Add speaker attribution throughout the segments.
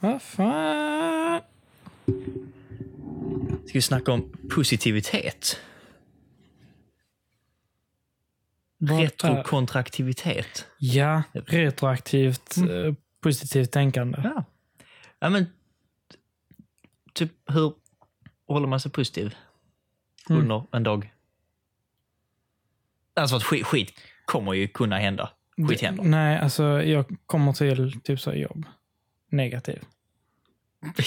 Speaker 1: Vad fan?
Speaker 2: Ska vi snacka om positivitet?
Speaker 1: Vad är-
Speaker 2: Retrokontraktivitet.
Speaker 1: Ja, retroaktivt eh, positivt tänkande.
Speaker 2: Mm. Ja. ja, men typ hur håller man sig positiv
Speaker 1: Mm.
Speaker 2: under en dag? Alltså att skit, skit kommer ju kunna hända. Skit händer.
Speaker 1: Nej, alltså jag kommer till typ så här jobb. Negativ.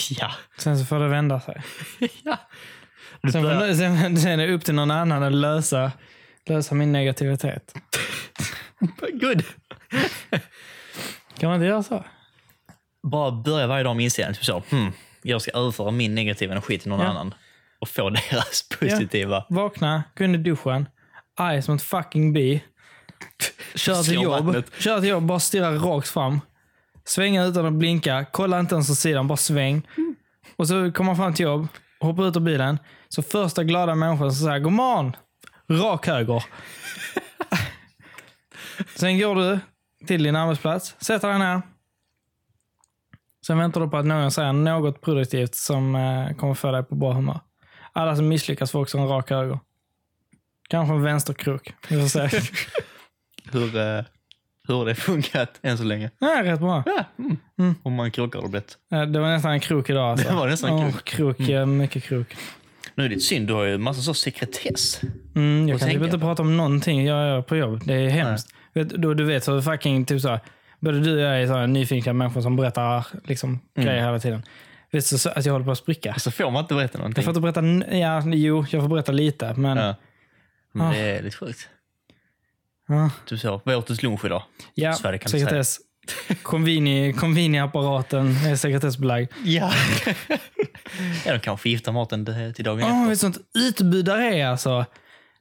Speaker 2: Ja.
Speaker 1: Sen så får det vända sig.
Speaker 2: ja. Du
Speaker 1: Sen,
Speaker 2: börjar,
Speaker 1: får, sen, sen är det upp till någon annan att lösa, lösa min negativitet.
Speaker 2: good.
Speaker 1: Kan man inte göra så?
Speaker 2: Bara börja varje dag med inställningen. Typ så, hmm, jag ska överföra min negativa energi till någon
Speaker 1: Ja.
Speaker 2: annan och få deras positiva.
Speaker 1: Vakna, gå under duschen. Arg som ett fucking bi. Kör till
Speaker 2: Slå
Speaker 1: jobb.
Speaker 2: vattnet.
Speaker 1: Kör till jobb, bara stirra rakt fram. Svänga utan att blinka. Kolla inte ens åt sidan, bara sväng. Och så kommer man fram till jobb, hoppar ut ur bilen. Så första glada människan som säger god morgon. Rak höger. Sen går du till din arbetsplats, sätter dig ner. Sen väntar du på att någon säger något produktivt som eh, kommer få dig på bra humör. Alla som misslyckas får också en rak höger. Kanske en vänsterkrok. Vi får se.
Speaker 2: Hur, eh, hur har det funkat än så länge?
Speaker 1: Nej, rätt bra.
Speaker 2: Ja. Mm. Om man krokar ordentligt.
Speaker 1: Eh, Det var nästan en krok idag. Alltså.
Speaker 2: Det var nästan en Mm.
Speaker 1: Åh, krok. eh, Mycket krok.
Speaker 2: Nu är det synd, du har ju massa så sekretess.
Speaker 1: Mm, jag kan
Speaker 2: Och
Speaker 1: typ
Speaker 2: tänka
Speaker 1: inte
Speaker 2: på.
Speaker 1: prata om någonting jag gör på jobb. Det är hemskt. Vet, då, du vet hur fucking typ så här, både du och jag är så här nyfikna människor som berättar liksom,
Speaker 2: Mm.
Speaker 1: grejer hela tiden. Vet du så, att jag håller på att spricka?
Speaker 2: Så Alltså, får man inte berätta någonting.
Speaker 1: Jag får inte berätta... n- Ja, jo, jag får berätta lite. Men,
Speaker 2: Ja. Men
Speaker 1: Ah.
Speaker 2: det är lite sjukt.
Speaker 1: ja.
Speaker 2: Typ så, vad åt du till lunch idag?
Speaker 1: Ja,
Speaker 2: Sverige kan inte
Speaker 1: sekretess. Konvini- Konvini-apparaten är sekretessbelagd.
Speaker 2: Ja. ja, de kan förgifta maten det- till dagen
Speaker 1: Åh,
Speaker 2: efter.
Speaker 1: vilket sånt utbud där är alltså.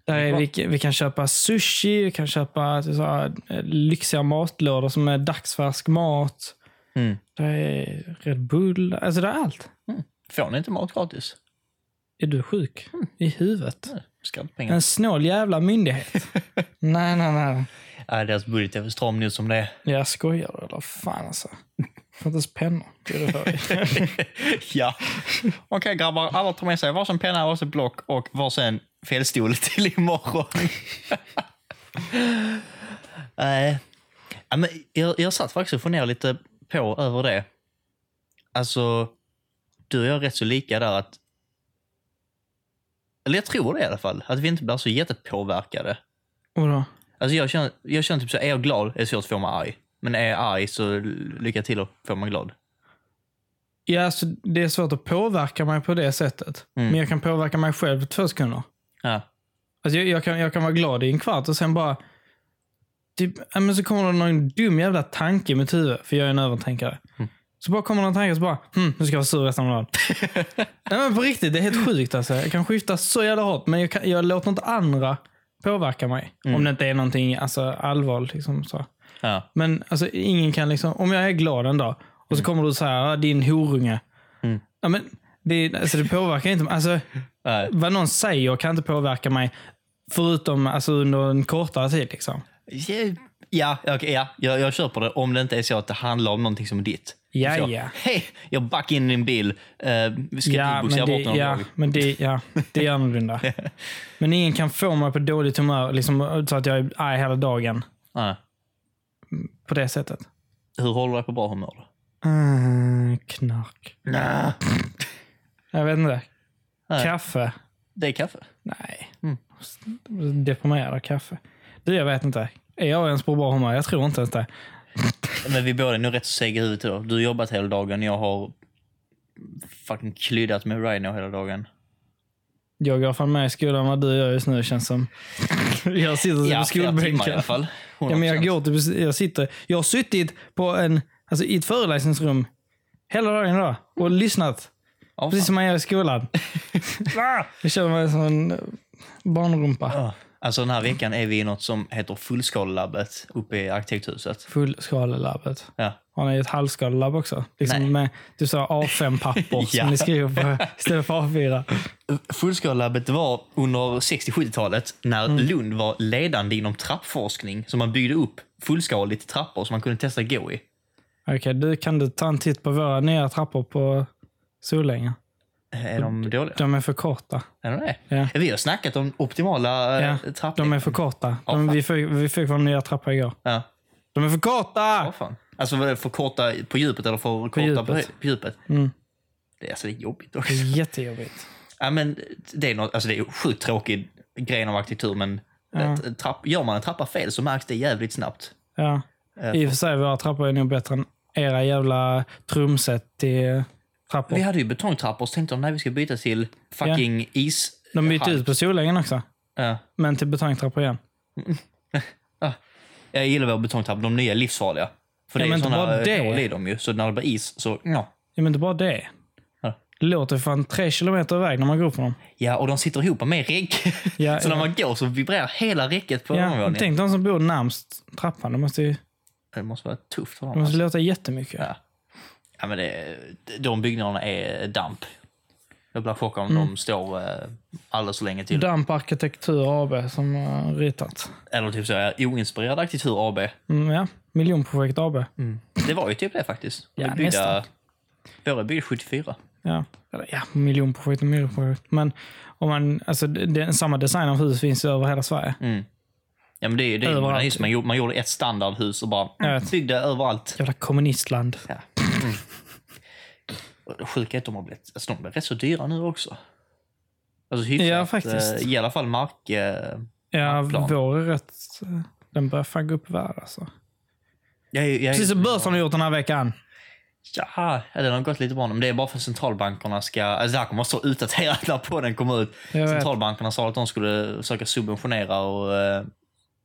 Speaker 1: Där är vi, vi kan köpa sushi, vi kan köpa så här, eh, lyxiga matlådor som är dagsfärsk mat.
Speaker 2: Mm.
Speaker 1: Där är Red Bull, alltså det är allt.
Speaker 2: Får ni inte mat gratis?
Speaker 1: Är du sjuk i huvudet?
Speaker 2: Hmm. Nej, Skattepengar.
Speaker 1: En snål jävla myndighet. nej, nej, nej.
Speaker 2: Nej, Äh, deras budget är för stram nu som det är.
Speaker 1: Jag skojar eller fan alltså. Får inte ens pennor. Det är det för.
Speaker 2: ja. Okej grabbar, alla tar med sig varsin penna, varsin block och varsin fällstol till imorgon. Nej. ja, men jag, jag satt faktiskt och funderade lite på över det. Alltså, du och jag är rätt så lika där att... Eller jag tror det i alla fall, att vi inte blir så jättepåverkade.
Speaker 1: Vadå?
Speaker 2: Alltså jag känner, jag känner typ så här, är jag glad är det svårt att få mig arg. Men är jag arg så lycka till att få mig glad.
Speaker 1: Ja, alltså, det är svårt att påverka mig på det sättet.
Speaker 2: Mm.
Speaker 1: Men jag kan påverka mig själv på två sekunder.
Speaker 2: Ja.
Speaker 1: Alltså, jag, jag, kan, jag kan vara glad i en kvart och sen bara... Typ, ja, men så kommer det någon dum jävla tanke i mitt huvud, för jag är en övertänkare. Så bara kommer någon tanke och så bara, hm, nu ska jag vara sur resten av dagen. Nej men på riktigt, det är helt sjukt alltså. Jag kan skifta så jävla hårt, men jag, kan, jag låter inte andra påverka mig. Om det inte är någonting alltså, allvarligt. Liksom, så.
Speaker 2: ja.
Speaker 1: Men alltså, ingen kan liksom, om jag är glad en dag och så kommer du så här, "Ah, din horunge.
Speaker 2: Mm.
Speaker 1: Ja, men det, alltså, det påverkar inte. Alltså,
Speaker 2: Nej.
Speaker 1: vad någon säger kan inte påverka mig förutom alltså, under en kortare tid. Liksom.
Speaker 2: Ja, okej, ja. Jag, jag köper det om det inte är så att det handlar om någonting som är ditt.
Speaker 1: Ja,
Speaker 2: Så,
Speaker 1: ja.
Speaker 2: Hej, jag backade in i din bil. Eh, vi ska
Speaker 1: Ja,
Speaker 2: ja,
Speaker 1: men
Speaker 2: bort
Speaker 1: det,
Speaker 2: någon
Speaker 1: ja,
Speaker 2: dag.
Speaker 1: men det, ja, det är annorlunda. men ingen kan få mig på dåligt humör liksom, så att jag är arg hela dagen
Speaker 2: Ja.
Speaker 1: på det sättet.
Speaker 2: Hur håller du dig på bra humör? då?
Speaker 1: Mm, knark. Jag vet inte.
Speaker 2: Nej.
Speaker 1: Kaffe.
Speaker 2: Det är kaffe.
Speaker 1: Nej.
Speaker 2: Mm.
Speaker 1: Deprimerad av kaffe. Du, jag vet inte. Är jag ens på bra humör? Jag tror inte ens det.
Speaker 2: Men vi båda är nog rätt så sega i huvudet idag. Du har jobbat hela dagen, jag har fucking klyddat med Rhino hela dagen.
Speaker 1: Jag går fan med i skolan vad du gör just nu känns som. Jag sitter på
Speaker 2: Ja, flera timmar i
Speaker 1: skolbänken.
Speaker 2: alla fall. 100%.
Speaker 1: Ja, men jag, går till, jag, sitter, jag har suttit på en, alltså, i ett föreläsningsrum hela dagen idag och lyssnat.
Speaker 2: Ja,
Speaker 1: Precis
Speaker 2: fan.
Speaker 1: som man gör i skolan. Jag känner mig som en eh, barnrumpa.
Speaker 2: Ja. Alltså den här veckan är vi i något som heter Fullskalelabbet uppe i arkitekthuset.
Speaker 1: Fullskalelabbet.
Speaker 2: Ja.
Speaker 1: Har ni ett halvskalelabb också?
Speaker 2: Nej.
Speaker 1: Liksom med du sa A5-papper
Speaker 2: Ja.
Speaker 1: som ni skriver på istället för A4.
Speaker 2: Fullskalelabbet var under 60-70-talet när
Speaker 1: Mm.
Speaker 2: Lund var ledande inom trappforskning. Så man byggde upp fullskaligt trappor som man kunde testa gå i.
Speaker 1: Okej, du kan du ta en titt på våra nya trappor på Solänga?
Speaker 2: Eh, Är de dåliga?
Speaker 1: De är för korta.
Speaker 2: Är de det?
Speaker 1: Mm. Ja.
Speaker 2: Vi har snackat om optimala
Speaker 1: Ja,
Speaker 2: ja. trappor.
Speaker 1: De är för korta.
Speaker 2: Ja,
Speaker 1: De,
Speaker 2: fan.
Speaker 1: vi, fick, vi fick vår nya trappa igår.
Speaker 2: Ja.
Speaker 1: De är för
Speaker 2: Ja,
Speaker 1: korta!
Speaker 2: fan. Alltså var det för korta på djupet eller för korta
Speaker 1: djupet.
Speaker 2: på, hö- på djupet?
Speaker 1: Mm.
Speaker 2: Det, är- alltså, det är jobbigt också.
Speaker 1: Det är jättejobbigt.
Speaker 2: Ja, men det, är något, alltså, det är sjukt tråkig gren av arkitektur men
Speaker 1: Ja.
Speaker 2: ett trapp, gör man en trappa fel så märks det jävligt snabbt.
Speaker 1: Ja.
Speaker 2: Eh,
Speaker 1: I och för sig, våra trappor är nog bättre än era jävla trumset till trappor.
Speaker 2: Vi hade ju betongtrappor så tänkte de nej vi ska byta till fucking is.
Speaker 1: De bytte
Speaker 2: hall."
Speaker 1: ut på Solängen också.
Speaker 2: Ja.
Speaker 1: Men till betongtrappor igen.
Speaker 2: Jag gillar våra betongtrappor, de nya är livsfarliga. För
Speaker 1: Ja,
Speaker 2: det är
Speaker 1: men inte bara
Speaker 2: sådana
Speaker 1: det.
Speaker 2: hål i dem ju, så när det blir is så ja.
Speaker 1: Ja, men inte bara det.
Speaker 2: Ja.
Speaker 1: Det låter fan tre kilometer iväg när man går upp på dem.
Speaker 2: Ja, och de sitter ihop med räck.
Speaker 1: Ja,
Speaker 2: så
Speaker 1: ja.
Speaker 2: när man går så vibrerar hela räcket på
Speaker 1: Ja,
Speaker 2: övervåningen.
Speaker 1: tänk de som bor närmst trappan. De måste, ju,
Speaker 2: Det måste vara tufft för
Speaker 1: de
Speaker 2: dem.
Speaker 1: måste låta
Speaker 2: Alltså.
Speaker 1: jättemycket.
Speaker 2: Ja. Ja, men det, de byggnaderna är damp. Jag blir chockad om
Speaker 1: Mm.
Speaker 2: de står eh, alldeles för länge till.
Speaker 1: Damp Arkitektur AB som har ritat.
Speaker 2: Eller typ så här, oinspirerad arkitektur AB.
Speaker 1: Mm, ja. Miljonprojekt AB.
Speaker 2: Det var ju typ det faktiskt. De
Speaker 1: Ja,
Speaker 2: är byggda,
Speaker 1: nästan.
Speaker 2: våra är byggda 74.
Speaker 1: Ja. Eller, ja, miljonprojekt och miljonprojekt. Men om man, alltså, det, det, samma design av hus finns ju över hela Sverige.
Speaker 2: Ja, men det, är- det, är
Speaker 1: Överallt.
Speaker 2: just, man, gjorde, man gjorde ett standardhus och bara
Speaker 1: Jag
Speaker 2: mm,
Speaker 1: vet.
Speaker 2: byggde överallt.
Speaker 1: Jävla kommunistland.
Speaker 2: Ja. Och det sjuka är att de har blivit, alltså, de blir rätt så dyra nu också. Alltså hyfsat.
Speaker 1: Ja, faktiskt.
Speaker 2: eh, I alla fall mark... Eh,
Speaker 1: Ja,
Speaker 2: Plan.
Speaker 1: vår är rätt... Den börjar fan gå upp i värde alltså.
Speaker 2: jag, jag,
Speaker 1: Precis som börsen har gjort den här veckan.
Speaker 2: Ja, den har gått lite bra. Men det är bara för att centralbankerna ska... Alltså det här kommer att stå utdaterat när podden kommer ut.
Speaker 1: Jag vet.
Speaker 2: Centralbankerna sa att de skulle försöka subventionera och eh,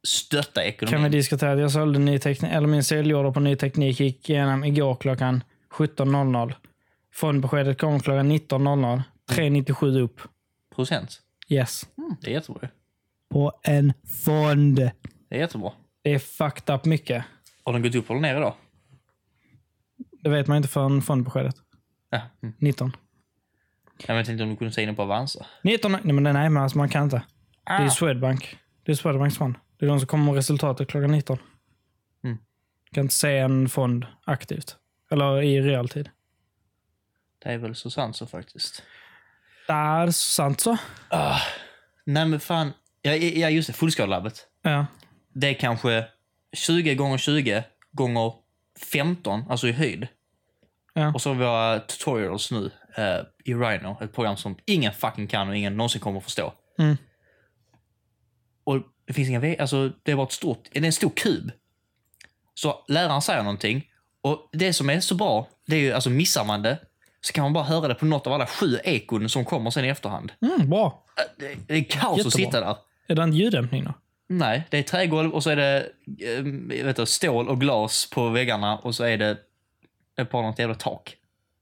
Speaker 2: stötta
Speaker 1: Kan
Speaker 2: ekonomin.
Speaker 1: vi diskutera att jag sålde ny teknik, eller min säljorder på ny teknik gick igenom igår klockan 17.00. Fondbeskedet kom klockan 19.00. 3,97 upp.
Speaker 2: Procent.
Speaker 1: Yes.
Speaker 2: Mm, det är jättebra. ju.
Speaker 1: På en fond.
Speaker 2: Det är jättebra.
Speaker 1: Det är fucked up mycket.
Speaker 2: Har den gått upp eller ner idag?
Speaker 1: Det vet man inte förrän fondbeskedet.
Speaker 2: Ja. Mm.
Speaker 1: 19.
Speaker 2: Ja, men Jag tänkte om du kunde säga in på Avanza.
Speaker 1: 19, nej men, nej, men alltså, man kan inte. Det
Speaker 2: Ah.
Speaker 1: är Swedbank. Det är Swedbanks fond. Det är de som kommer med resultatet klockan 19.
Speaker 2: Mm.
Speaker 1: Kan inte se en fond aktivt. Eller i realtid.
Speaker 2: Det är väl så sant så faktiskt.
Speaker 1: Där, sant så.
Speaker 2: Nej men fan. Ja, ja just det. Fullskadelabbet.
Speaker 1: Ja.
Speaker 2: Det är kanske 20 gånger 20 gånger 15, alltså i höjd.
Speaker 1: Ja.
Speaker 2: Och så har vi våra tutorials nu eh, i Rhino. Ett program som ingen fucking kan och ingen någonsin kommer att förstå.
Speaker 1: Mm.
Speaker 2: Och det finns inga vägar. Alltså, det var ett stort... Det är en stor kub. Så läraren säger någonting. Och det som är så bra, det är ju alltså missar man det så kan man bara höra det på något av alla sju ekon som kommer sen i efterhand.
Speaker 1: Mm, bra.
Speaker 2: Eh, Det, det är kaos
Speaker 1: Jättebra.
Speaker 2: att sitta där.
Speaker 1: Är det en ljuddämpning då?
Speaker 2: Nej, det är trägolv och så är det eh, vet du, stål och glas på väggarna och så är det ett par något jävla tak.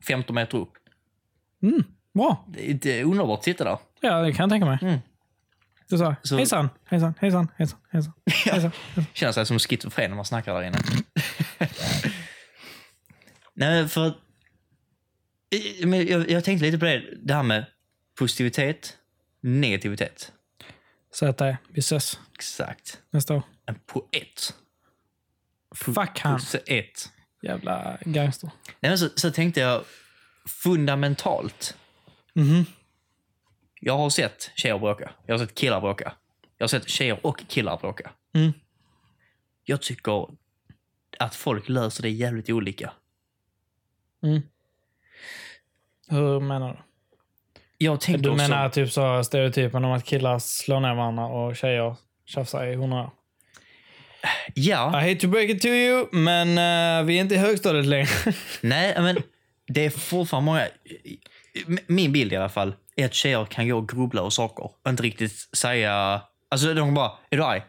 Speaker 2: 15 meter upp.
Speaker 1: Bra.
Speaker 2: Det är, det är underbart att sitta där.
Speaker 1: Ja, det kan jag tänka mig.
Speaker 2: Mm.
Speaker 1: Du sa
Speaker 2: Så-
Speaker 1: hejsan, hejsan, hejsan, hejsan, hejsan. hejsan.
Speaker 2: Känner sig som schizofren när man snackar där inne. Nej, för att... I- Men jag, jag tänkte lite på det, det här med positivitet, negativitet.
Speaker 1: Så att det, vi ses
Speaker 2: Exakt.
Speaker 1: nästa år.
Speaker 2: En poet.
Speaker 1: Fuck han.
Speaker 2: Poet.
Speaker 1: Jävla gangster.
Speaker 2: Nej, men så, så tänkte jag fundamentalt.
Speaker 1: Mhm.
Speaker 2: Jag har sett tjejer bråka. Jag har sett killar bråka. Jag har sett tjejer och killar bråka.
Speaker 1: Mm.
Speaker 2: Jag tycker att folk löser det jävligt olika. Mm.
Speaker 1: Hur menar du?
Speaker 2: Jag tänker
Speaker 1: Du
Speaker 2: också-
Speaker 1: menar typ så stereotypen om att killar slår ner varandra och tjejer tjafsar i hundra år?
Speaker 2: Ja.
Speaker 1: I hate to break it to you, men eh, vi är inte i högstadiet längre.
Speaker 2: Nej, men det är fortfarande många... Min bild i alla fall är att tjejer kan gå och grubbla och saker och inte riktigt säga... Alltså de bara, är du arg?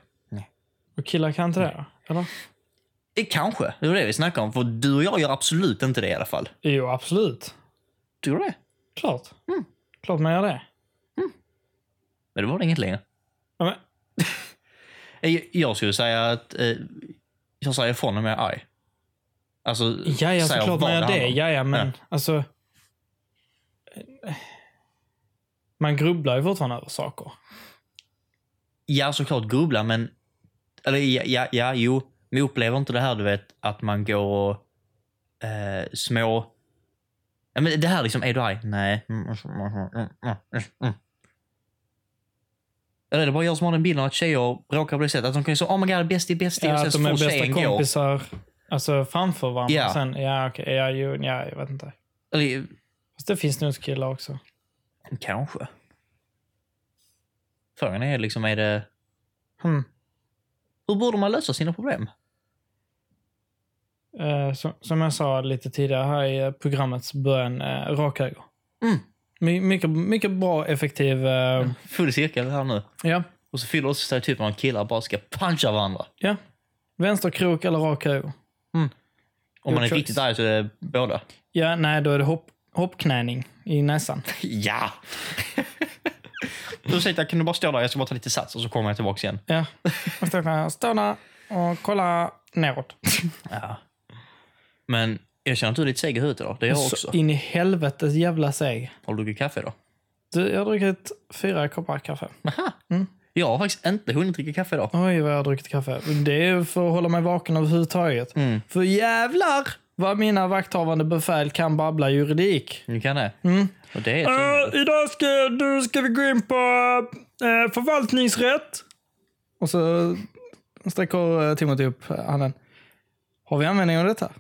Speaker 1: och killar kan inte det, va? eller?
Speaker 2: Eh, Kanske, det var det vi snackade om. För du och jag gör absolut inte det i alla fall.
Speaker 1: Jo, absolut.
Speaker 2: Tror du det?
Speaker 1: Klart. Klart man gör det.
Speaker 2: Men det var det inget längre.
Speaker 1: Ja, men,
Speaker 2: Eh, Jag, jag skulle säga att eh, jag säger ifrån om jag är arg. Alltså,
Speaker 1: ja, ja,
Speaker 2: säger
Speaker 1: såklart
Speaker 2: vad
Speaker 1: man gör det.
Speaker 2: handlar om.
Speaker 1: Ja, ja, men alltså... eh, Man grubblar ju fortfarande över saker.
Speaker 2: Ja, såklart grubbla, men... Eller ja, ja, ja jo. Men jag upplever inte det här, du vet, att man går och... eh, små... Ja, men det här liksom, är du arg? Nej. Eller är det bara jag som har den bilden att tjejer bråkar på det sättet? Att de kan ju säga oh my god, bästie, bästie.
Speaker 1: Ja,
Speaker 2: och
Speaker 1: att
Speaker 2: sen
Speaker 1: de är
Speaker 2: får
Speaker 1: bästa
Speaker 2: tjejen gå.
Speaker 1: kompisar alltså, framför varandra.
Speaker 2: Ja.
Speaker 1: Sen, ja, okej. Ja, jo, ja, jag vet inte.
Speaker 2: Eller,
Speaker 1: Fast det finns nog killar också.
Speaker 2: kanske. Frågan är liksom, är det...
Speaker 1: Hmm.
Speaker 2: Hur borde man lösa sina problem?
Speaker 1: Eh, som, som jag sa lite tidigare här i eh, programmets början, eh, rakhöger.
Speaker 2: Mm.
Speaker 1: My, mycket, mycket bra, effektiv... eh,
Speaker 2: Full cirkel här nu.
Speaker 1: ja.
Speaker 2: Och så fyller också stereotypen av killar bara ska puncha varandra.
Speaker 1: ja. Vänsterkrok eller rak höger?
Speaker 2: Om
Speaker 1: Good
Speaker 2: man är
Speaker 1: choice.
Speaker 2: riktigt arg så är det båda.
Speaker 1: Ja, nej, då är det hopp, hoppknäning i näsan.
Speaker 2: Ja! Ursäkta, kan du bara stå där? Jag ska bara ta lite sats och så kommer jag tillbaka igen.
Speaker 1: Ja. Man står där, står där och kolla neråt.
Speaker 2: Ja. Men jag känner att du är lite seg i huvudet idag. Det är jag också.
Speaker 1: Så in i helvetes jävla seg.
Speaker 2: Har du druckit kaffe idag?
Speaker 1: Du, jag har druckit fyra koppar kaffe.
Speaker 2: Aha.
Speaker 1: Mm.
Speaker 2: Jag har faktiskt inte hunnit dricka kaffe idag.
Speaker 1: Oj, vad jag har druckit kaffe. Det är för att hålla mig vaken överhuvudtaget.
Speaker 2: Mm.
Speaker 1: För jävlar vad mina vakthavande befäl kan babbla juridik.
Speaker 2: Nu kan det.
Speaker 1: Mm.
Speaker 2: Och det är ett
Speaker 1: idag ska, du ska vi gå in på eh, förvaltningsrätt. Och så sträcker eh, Timothy upp handen. Har vi användning av detta?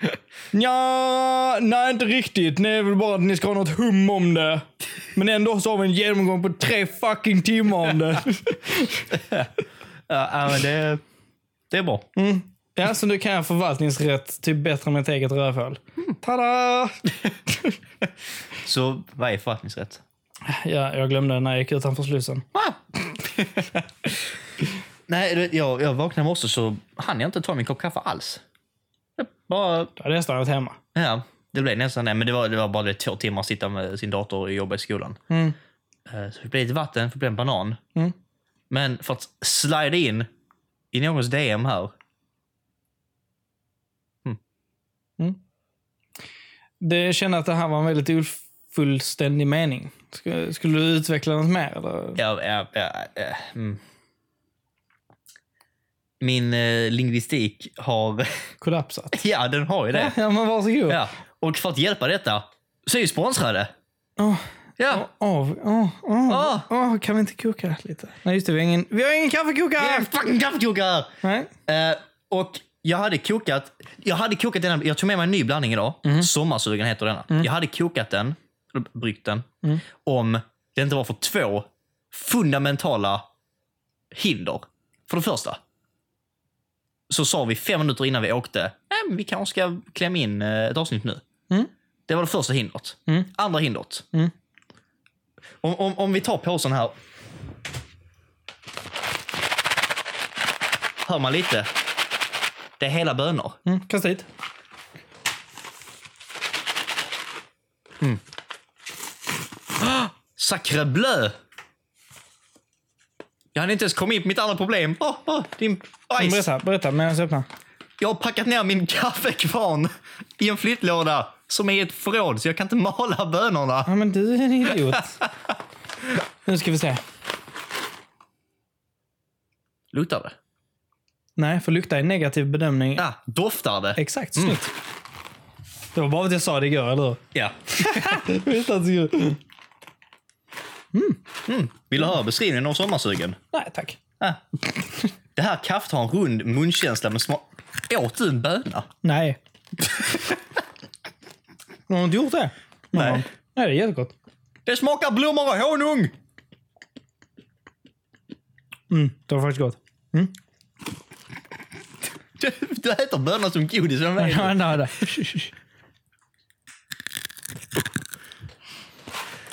Speaker 1: Ja, nej inte riktigt. Nej, det är väl bara att ni ska ha något hum om det. Men ändå så har vi en genomgång på tre fucking timmar om det.
Speaker 2: ja, ja, men det, det är bra.
Speaker 1: Mm. Ja, så nu kan jag förvaltningsrätt typ bättre än mitt eget rövhål. Mm, Tada!
Speaker 2: Så vad är förvaltningsrätt?
Speaker 1: Ja, jag glömde när jag gick utanför slussen.
Speaker 2: Nej, du vet, jag, jag vaknade i morse så hann jag inte ta min kopp kaffe alls. Jag bara
Speaker 1: Då hade jag stannat hemma.
Speaker 2: Ja, det blev nästan det. Men det var, det var bara det två timmar att sitta med sin dator och jobba i skolan.
Speaker 1: Mm.
Speaker 2: Eh, Så det blev lite vatten, det blev en banan.
Speaker 1: Mm.
Speaker 2: Men för att slide in i någons DM här.
Speaker 1: Det, jag känner att det här var en väldigt ofullständig mening. Skulle, skulle du utveckla något mer? Eller?
Speaker 2: Ja, ja, ja, ja, mm. Min eh, lingvistik har...
Speaker 1: Kollapsat?
Speaker 2: ja, den har ju
Speaker 1: Ja,
Speaker 2: det.
Speaker 1: ja, men varsågod.
Speaker 2: Ja. Och för att hjälpa detta så är ju sponsrade.
Speaker 1: Åh,
Speaker 2: Ja.
Speaker 1: åh, åh, åh,
Speaker 2: Ah.
Speaker 1: åh, kan vi inte koka lite? Nej, just det. Vi har ingen, vi har ingen kaffekokare!
Speaker 2: Det är en fucking kaffekokare!
Speaker 1: Nej.
Speaker 2: Äh, Eh, och jag hade kokat, jag hade kokat den, jag tog med mig en ny blandning idag.
Speaker 1: Mm.
Speaker 2: Sommarsugen heter denna. Jag hade kokat den, eller bryggt den,
Speaker 1: Mm.
Speaker 2: om det inte var för två fundamentala hinder. För det första så sa vi fem minuter innan vi åkte, "Nej, men vi kanske ska klämma in eh, ett avsnitt nu.
Speaker 1: Mm.
Speaker 2: Det var det första hindret.
Speaker 1: Mm.
Speaker 2: Andra hindret.
Speaker 1: Mm.
Speaker 2: Om, om, om vi tar påsen här. Hör man lite? Det är hela bönor.
Speaker 1: Mm, kasta hit.
Speaker 2: Sacre bleu! Jag hade inte ens kommit in på mitt andra problem. Åh, åh, din
Speaker 1: Men
Speaker 2: bajs.
Speaker 1: Berätta, berätta medan jag öppnar.
Speaker 2: Jag har packat ner min kaffekvarn i en flyttlåda som är i ett förråd, så jag kan inte mala bönorna.
Speaker 1: Ja, men du är en idiot. nu ska vi se.
Speaker 2: Luktar det?
Speaker 1: Nej, för lukta är negativ bedömning.
Speaker 2: Ja, Mm. doftar det?
Speaker 1: Exakt, snyggt. Det var bara för att jag sa det igår, eller hur?
Speaker 2: Ja.
Speaker 1: Jag visste att
Speaker 2: alltså,
Speaker 1: det skulle-
Speaker 2: Vill du höra beskrivningen av sommarsugen?
Speaker 1: Nej, tack.
Speaker 2: Ja. Det här kaffet har en rund munkänsla med smak... Åt du en böna?
Speaker 1: Nej. Har du inte gjort det?
Speaker 2: Nej.
Speaker 1: Nej, det är jättegott.
Speaker 2: Det smakar blommor och honung!
Speaker 1: Mm, det var faktiskt gott.
Speaker 2: Du, du äter bönor som godis, vad menar du?
Speaker 1: Nej, nej, nej.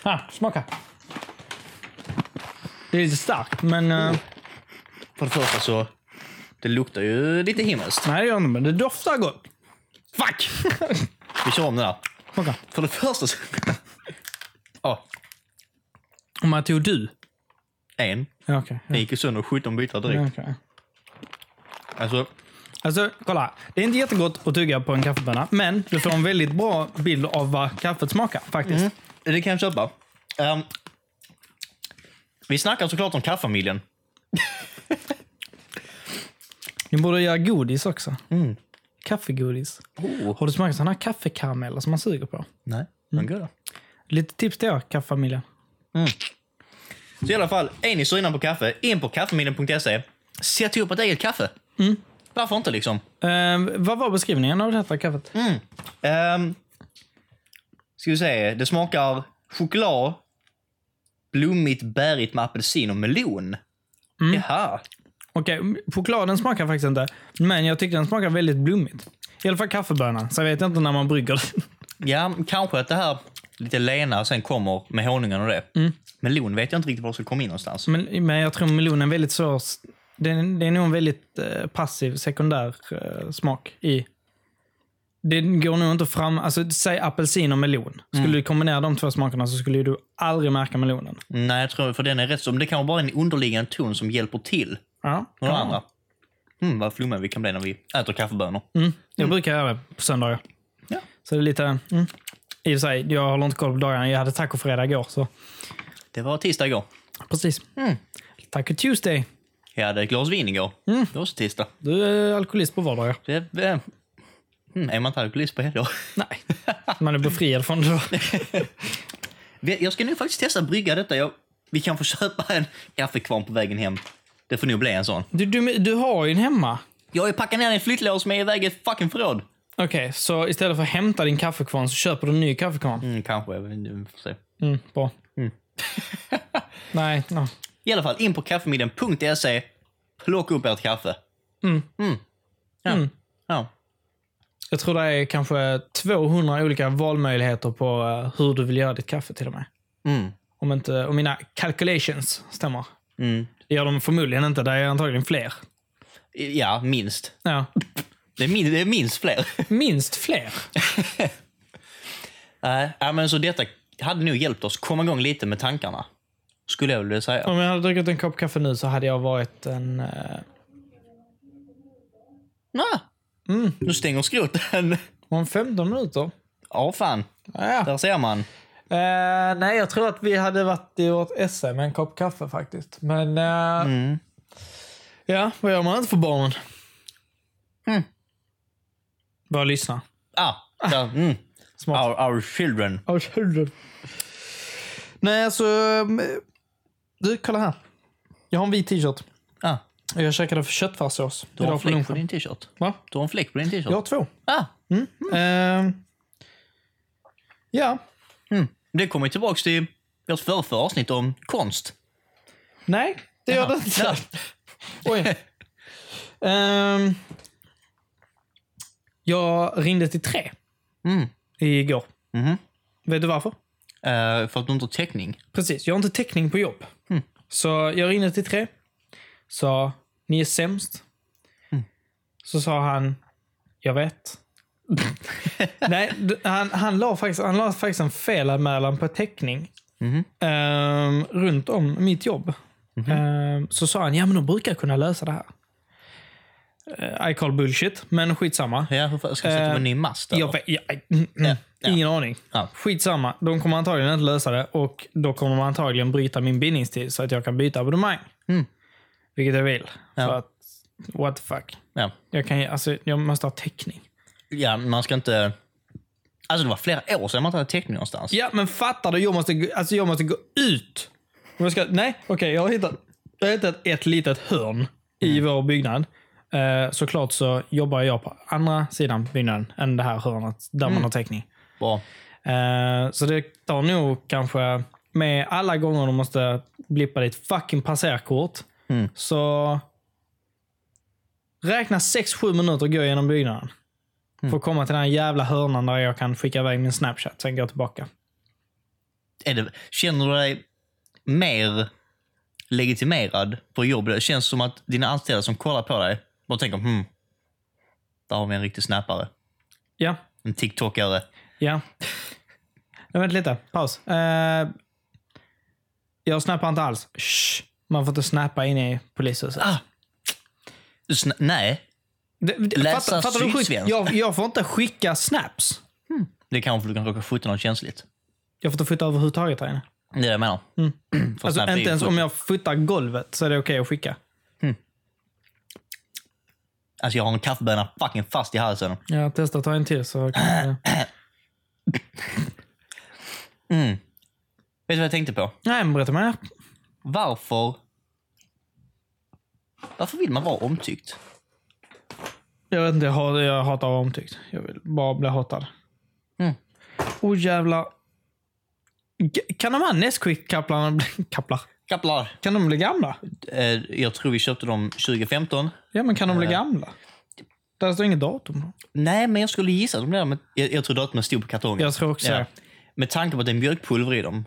Speaker 1: Ah, smaka. Det är lite starkt, men... eh,
Speaker 2: För det första så... Det luktar ju lite himmelskt.
Speaker 1: nej, det gör det inte. Men det doftar gott.
Speaker 2: Fuck! Vi kör om det där.
Speaker 1: Smaka.
Speaker 2: För det första så... Ja,
Speaker 1: Om man tog du.
Speaker 2: en.
Speaker 1: Ja, okej.
Speaker 2: Den gick ju sönder 17 bitar
Speaker 1: Ja,
Speaker 2: direkt.
Speaker 1: okej.
Speaker 2: Alltså,
Speaker 1: Alltså, kolla. Det är inte jättegott att tugga på en kaffebönna, men du får en väldigt bra bild av vad kaffet smakar faktiskt.
Speaker 2: det kan jag köpa. Ehm, vi snackar såklart om kaffamiljen.
Speaker 1: Ni borde göra godis också. Mm. kaffegodis.
Speaker 2: Oh.
Speaker 1: Har du smakat sådana här kaffekarameller som man suger på?
Speaker 2: Nej, men goda.
Speaker 1: Lite tips till er, kaffefamiljen.
Speaker 2: Så i alla fall, är ni sugna på kaffe, in på kaffemillen.se. E. Sätt ihop ett eget kaffe. Varför inte liksom?
Speaker 1: Eh, vad var beskrivningen av detta kaffet?
Speaker 2: Mm. Ehm, ska vi se, det smakar choklad, blommigt, bärigt med apelsin och melon. Jaha.
Speaker 1: Okej, chokladen smakar faktiskt inte, men jag tyckte den smakar väldigt blommigt. I alla fall kaffebönan. Så jag vet inte när man brygger den.
Speaker 2: Ja, kanske att det här lite lena sen kommer med honungen och det.
Speaker 1: Mm.
Speaker 2: Melon vet jag inte riktigt var det ska komma in någonstans.
Speaker 1: Men, men jag tror melonen är väldigt svår. Den, det är nog en väldigt eh, passiv sekundär eh, smak i. Det går nog inte fram. Alltså, säg apelsin och melon. Skulle du kombinera de två smakerna så skulle du aldrig märka melonen.
Speaker 2: Nej, jag tror för den är rätt så... men Det kanske bara är en underliggande ton som hjälper till.
Speaker 1: Ja,
Speaker 2: Och
Speaker 1: kan
Speaker 2: de
Speaker 1: vara.
Speaker 2: andra. Mm, vad flummiga vi kan bli när vi äter kaffebönor.
Speaker 1: Mm. Jag brukar göra det på söndagar.
Speaker 2: Ja.
Speaker 1: Så det är lite... Mm. I och för sig, jag håller inte koll på dagarna. Jag hade tacofredag igår. Så.
Speaker 2: Det var tisdag igår.
Speaker 1: Precis.
Speaker 2: Mm.
Speaker 1: Taco Tuesday.
Speaker 2: Jag hade ett glas vin igår.
Speaker 1: Mm.
Speaker 2: Det var också tisdag.
Speaker 1: Du är alkoholist på vardagar.
Speaker 2: Det, eh, mm, är man inte alkoholist på helger?
Speaker 1: Nej. Man är befriad från det då.
Speaker 2: Vi- Jag ska nu faktiskt testa att brygga detta. Jag, vi kan få köpa en kaffekvarn på vägen hem. Det får nog bli en sån.
Speaker 1: Du, du, du har ju en hemma.
Speaker 2: Jag har ju packat ner den i flyttlådor som är iväg i ett fucking förråd.
Speaker 1: Okej, så istället för att hämta din kaffekvarn så köper du en ny kaffekvarn.
Speaker 2: Mm, kanske. Jag vet inte, vi får se.
Speaker 1: Mm, bra. Nej, no.
Speaker 2: I alla fall, in på kaffemidden.se. E. Plocka upp ert kaffe. Mm. Ja. Ja.
Speaker 1: jag tror det är kanske 200 olika valmöjligheter på eh, hur du vill göra ditt kaffe till och med.
Speaker 2: Mm.
Speaker 1: Om, inte, om mina calculations stämmer.
Speaker 2: Mm.
Speaker 1: Det gör de förmodligen inte. Det är antagligen fler.
Speaker 2: ja, minst.
Speaker 1: Ja.
Speaker 2: Det är, min, det är minst fler.
Speaker 1: Minst fler.
Speaker 2: Nej, ja, men så detta hade nog hjälpt oss komma igång lite med tankarna. Skulle jag vilja säga.
Speaker 1: Om jag hade druckit en kopp kaffe nu så hade jag varit en... eh,
Speaker 2: Ah,
Speaker 1: Mm.
Speaker 2: Nu stänger skroten.
Speaker 1: om 15 minuter?
Speaker 2: Ja, fan.
Speaker 1: Ja.
Speaker 2: Där ser man.
Speaker 1: Eh, nej, jag tror att vi hade varit i vårt esse med en kopp kaffe faktiskt. Men... eh, Ja, vad gör man inte för barnen?
Speaker 2: Mm.
Speaker 1: Bara lyssna.
Speaker 2: Ah, där. Mm.
Speaker 1: Smart.
Speaker 2: Our, our children.
Speaker 1: Nej, alltså... mm, Du, kolla här. Jag har en vit t-shirt.
Speaker 2: Ah,
Speaker 1: Och Jag käkade för köttfärssås
Speaker 2: du har en
Speaker 1: idag på
Speaker 2: fläck på
Speaker 1: lunchen.
Speaker 2: din t-shirt.
Speaker 1: Va?
Speaker 2: Du har en fläck på din t-shirt.
Speaker 1: Jag har två.
Speaker 2: Ah,
Speaker 1: Eh, ja.
Speaker 2: mm. Det kommer ju tillbaka till vårt förra, förra avsnitt om konst.
Speaker 1: Nej, det gör det inte.
Speaker 2: Ja.
Speaker 1: Oj. Ehm, jag ringde till tre
Speaker 2: Mm.
Speaker 1: igår.
Speaker 2: Mhm.
Speaker 1: Vet du varför?
Speaker 2: Eh, för att du inte har täckning.
Speaker 1: Precis, jag har inte täckning på jobb.
Speaker 2: Mm.
Speaker 1: Så jag ringde till tre. Sa, ni är sämst.
Speaker 2: Mm.
Speaker 1: Så sa han, jag vet. Nej, d- han, han, la faktiskt, han la faktiskt en felanmälan på täckning
Speaker 2: Mhm.
Speaker 1: ehm, runt om mitt jobb. Ehm, så sa han, ja men de brukar kunna lösa det här. Eh, I call bullshit, men skitsamma.
Speaker 2: Ja, hur fan- ska jag sätta på en ny mast? eller?
Speaker 1: Eh, Jag vet, ja, mm, mm, Ingen aning.
Speaker 2: Ja.
Speaker 1: Skitsamma. De kommer antagligen inte lösa det och då kommer de antagligen bryta min bindningstid så att jag kan byta abonnemang.
Speaker 2: Mm.
Speaker 1: Vilket jag vill.
Speaker 2: Ja.
Speaker 1: För att, what the fuck.
Speaker 2: Ja.
Speaker 1: Jag, kan, ju- alltså, jag måste ha täckning.
Speaker 2: ja, man ska inte... Alltså det var flera år sedan man inte hade täckning någonstans.
Speaker 1: Ja, men fattar du? Jag måste, gå- alltså, jag måste gå ut. Om Jag ska, nej, okej. jag har hittat, jag har hittat ett litet hörn i vår byggnad. Eh, såklart så jobbar jag på andra sidan byggnaden än det här hörnet där man har täckning.
Speaker 2: Bra.
Speaker 1: Eh, så det tar nog kanske, med alla gånger de måste blippa ditt fucking passerkort,
Speaker 2: Mm.
Speaker 1: så räkna 6-7 minuter och gå igenom byggnaden.
Speaker 2: Mm.
Speaker 1: För att komma till den här jävla hörnan där jag kan skicka iväg min Snapchat, sen gå tillbaka.
Speaker 2: Är det, känner du dig mer legitimerad på jobbet? Det känns som att dina anställda som kollar på dig bara tänker hmm, där har vi en riktig snappare.
Speaker 1: Ja,
Speaker 2: En TikTokare.
Speaker 1: ja. Nej, vänta lite. Paus. Eh, jag snappar inte alls. Shh. Man får inte snappa in i polishuset.
Speaker 2: Ah! Du sna- nej,
Speaker 1: Det- det-
Speaker 2: Läsa
Speaker 1: fattar- fattar du hur sjukt?
Speaker 2: sydsvensk.
Speaker 1: jag, jag får inte skicka snaps.
Speaker 2: det kanske du kan råka skjuta något känsligt.
Speaker 1: Jag får inte flytta överhuvudtaget där inne.
Speaker 2: Det är det jag menar. För
Speaker 1: Alltså,
Speaker 2: snap är ju
Speaker 1: inte ens
Speaker 2: sjukt.
Speaker 1: om jag fotar golvet så är det okej att skicka.
Speaker 2: Alltså jag har en kaffeböna fucking fast i halsen.
Speaker 1: Jag testar att ta en till så kanske...
Speaker 2: Mm. Vet du vad jag tänkte på?
Speaker 1: Nej, men berätta mer.
Speaker 2: Varför... Varför vill man vara omtyckt?
Speaker 1: Jag vet inte, jag, hat, jag hatar att vara omtyckt. Jag vill bara bli hatad.
Speaker 2: Mm.
Speaker 1: Oh jävlar. G- Kan de här Nesquik-kaplarna bli... Kaplar?
Speaker 2: Kaplar.
Speaker 1: Kan de bli gamla?
Speaker 2: Eh, Jag tror vi köpte dem 2015.
Speaker 1: Ja, men kan de bli gamla? Där står inget datum.
Speaker 2: Nej, men jag skulle gissa att de blev... men Jag, jag tror datumet stod på kartongen.
Speaker 1: Jag tror också det.
Speaker 2: Med tanke på att det är mjölkpulver i dem.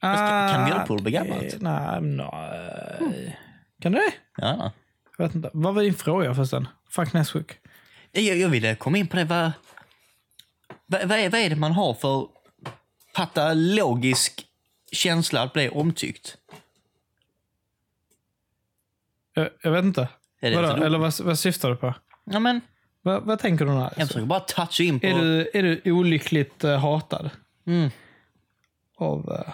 Speaker 2: kan-
Speaker 1: Ah,
Speaker 2: kan mjölkpulver bli gammalt?
Speaker 1: det- Nej, nej. Kan du det?
Speaker 2: Ja.
Speaker 1: Jag vet inte. Vad var din fråga förresten? Fuck Nesquik.
Speaker 2: Jag, jag ville komma in på det. Vad, vad, vad, är, vad är det man har för patologisk känsla att bli omtyckt?
Speaker 1: Jag, jag vet inte.
Speaker 2: Är det
Speaker 1: Vadå?
Speaker 2: inte roligt?
Speaker 1: Eller vad, vad syftar du på?
Speaker 2: Ja, men,
Speaker 1: Vad, vad tänker du när?
Speaker 2: jag försöker bara toucha in på...
Speaker 1: Är du, är du olyckligt eh, hatad
Speaker 2: Mm.
Speaker 1: av eh,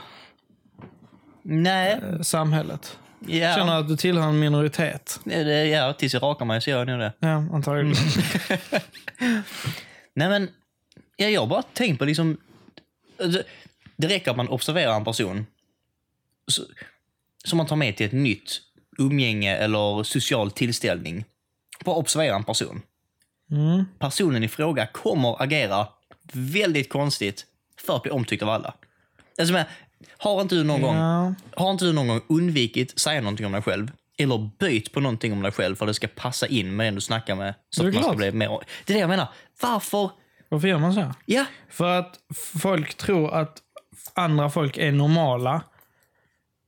Speaker 2: Nej.
Speaker 1: samhället?
Speaker 2: Ja.
Speaker 1: Känner att du tillhör en minoritet?
Speaker 2: Nej, det- Ja, tills jag rakar mig så gör jag nog det.
Speaker 1: Ja, antagligen.
Speaker 2: Mm. Nej, men ja, jag har bara tänkt på liksom... alltså, Det räcker att man observerar en person så, som man tar med till ett nytt umgänge eller social tillställning. Bara observera en person.
Speaker 1: Mm.
Speaker 2: Personen i fråga kommer agera väldigt konstigt för att bli omtyckt av alla. Alltså, men, har, inte du någon gång,
Speaker 1: Ja.
Speaker 2: har inte du någon gång undvikit säga någonting om dig själv? Eller bytt på någonting om dig själv för att det ska passa in med den du snackar med. Så
Speaker 1: Det är
Speaker 2: att man ska
Speaker 1: klart.
Speaker 2: bli mer... Det är det jag menar. Varför?
Speaker 1: Varför gör man så? här?
Speaker 2: Ja,
Speaker 1: För att folk tror att andra folk är normala.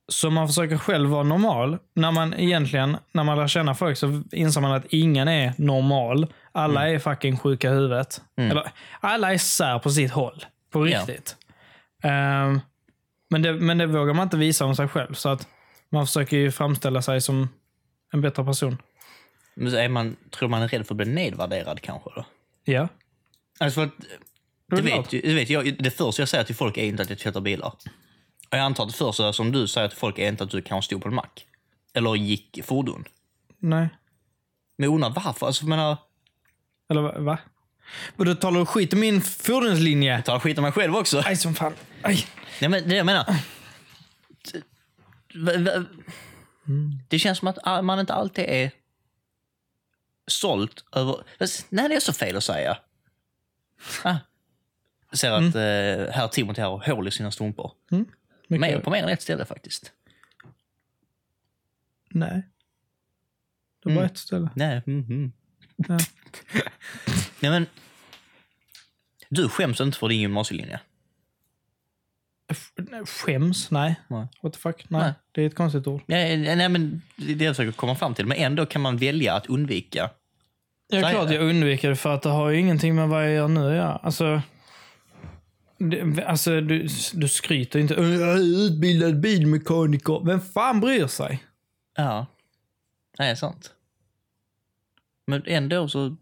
Speaker 1: Så man försöker själv vara normal. När man egentligen, när man lär känna folk så inser man att ingen är normal. Alla är fucking sjuka i huvudet. Eller, alla är sär på sitt håll. På
Speaker 2: Ja.
Speaker 1: riktigt. Ehm, men, det, men det vågar man inte visa om sig själv. Så att man försöker ju framställa sig som en bättre person.
Speaker 2: Men så är man, tror man är rädd för att bli nedvärderad kanske? Då?
Speaker 1: Ja.
Speaker 2: Alltså för att,
Speaker 1: är
Speaker 2: det, vet,
Speaker 1: klart.
Speaker 2: ju- det, vet jag, det första jag säger till folk är inte att jag tvättar bilar. Och jag antar att det första som du säger till folk är inte att du kanske stod på en mack. Eller gick fordon.
Speaker 1: Nej.
Speaker 2: Men jag undrar varför? Alltså, jag menar,
Speaker 1: Eller va- va? Och då talar du skit om min fordonslinje.
Speaker 2: tar skit om mig själv också.
Speaker 1: Aj som fan. Aj.
Speaker 2: Nej, men det är det jag menar. Va- va- Det känns som att all- man inte alltid är sålt över... Fast, Nej, det är så fel att säga. Ah. Jag ser att eh, herr Timothy har hål i sina strumpor.
Speaker 1: Mm. Mycket-
Speaker 2: Mer, på mer än ett ställe faktiskt.
Speaker 1: Nej. Det var
Speaker 2: Mm.
Speaker 1: ett ställe.
Speaker 2: Nej, mhm.
Speaker 1: Ja.
Speaker 2: Nej, men... Du skäms inte för din gymnasielinje?
Speaker 1: F- nej, Skäms? Nej.
Speaker 2: Nej.
Speaker 1: What the fuck? Nej.
Speaker 2: Nej.
Speaker 1: Det är ett konstigt ord.
Speaker 2: Nej, nej, men det är det jag försöker komma fram till. Men ändå kan man välja att undvika.
Speaker 1: Jag
Speaker 2: Så
Speaker 1: är
Speaker 2: är
Speaker 1: klart
Speaker 2: det.
Speaker 1: jag undviker det för att det har ju ingenting med vad jag gör nu att göra. Alltså, det, alltså du, du skryter inte. "Ö, Jag är utbildad bilmekaniker. Vem fan bryr sig?
Speaker 2: Ja. Nej, det är sant. Men ändå så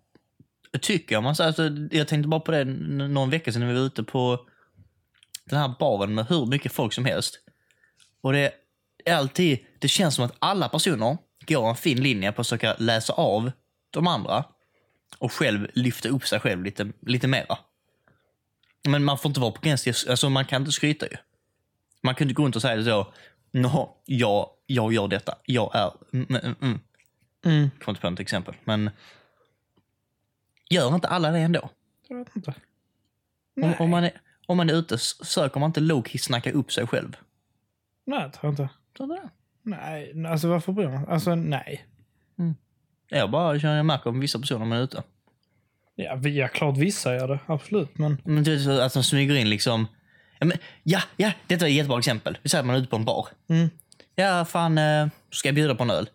Speaker 2: tycker jag man så alltså, Jag tänkte bara på det n- någon vecka sedan när vi var ute på den här baren med hur mycket folk som helst. Och det är alltid, det känns som att alla personer går en fin linje på att försöka läsa av de andra och själv lyfta upp sig själv lite, lite mera. Men man får inte vara på gränsen, till- alltså man kan inte skryta ju. Man kan inte gå runt och säga så, nå, jag, jag gör detta, jag är, mm, mm, mm.
Speaker 1: Mm.
Speaker 2: Jag kommer inte på något exempel, men gör inte alla det ändå?
Speaker 1: Jag vet inte.
Speaker 2: Om,
Speaker 1: Nej.
Speaker 2: om, man är, om man är ute, s- söker man inte low-key snacka upp sig själv?
Speaker 1: Nej, tror jag inte.
Speaker 2: Så där.
Speaker 1: Nej, alltså varför bryr man sig? Alltså nej.
Speaker 2: Jag bara känner, jag märker om vissa personer man är ute.
Speaker 1: Ja, vi- ja, klart vissa gör det. Absolut. Men
Speaker 2: Men du vet, så att de smyger in liksom. Ja, men, ja, ja, detta är ett jättebra exempel. Vi säger att man är ute på en bar.
Speaker 1: Mm.
Speaker 2: Ja, fan, eh, ska jag bjuda på en öl?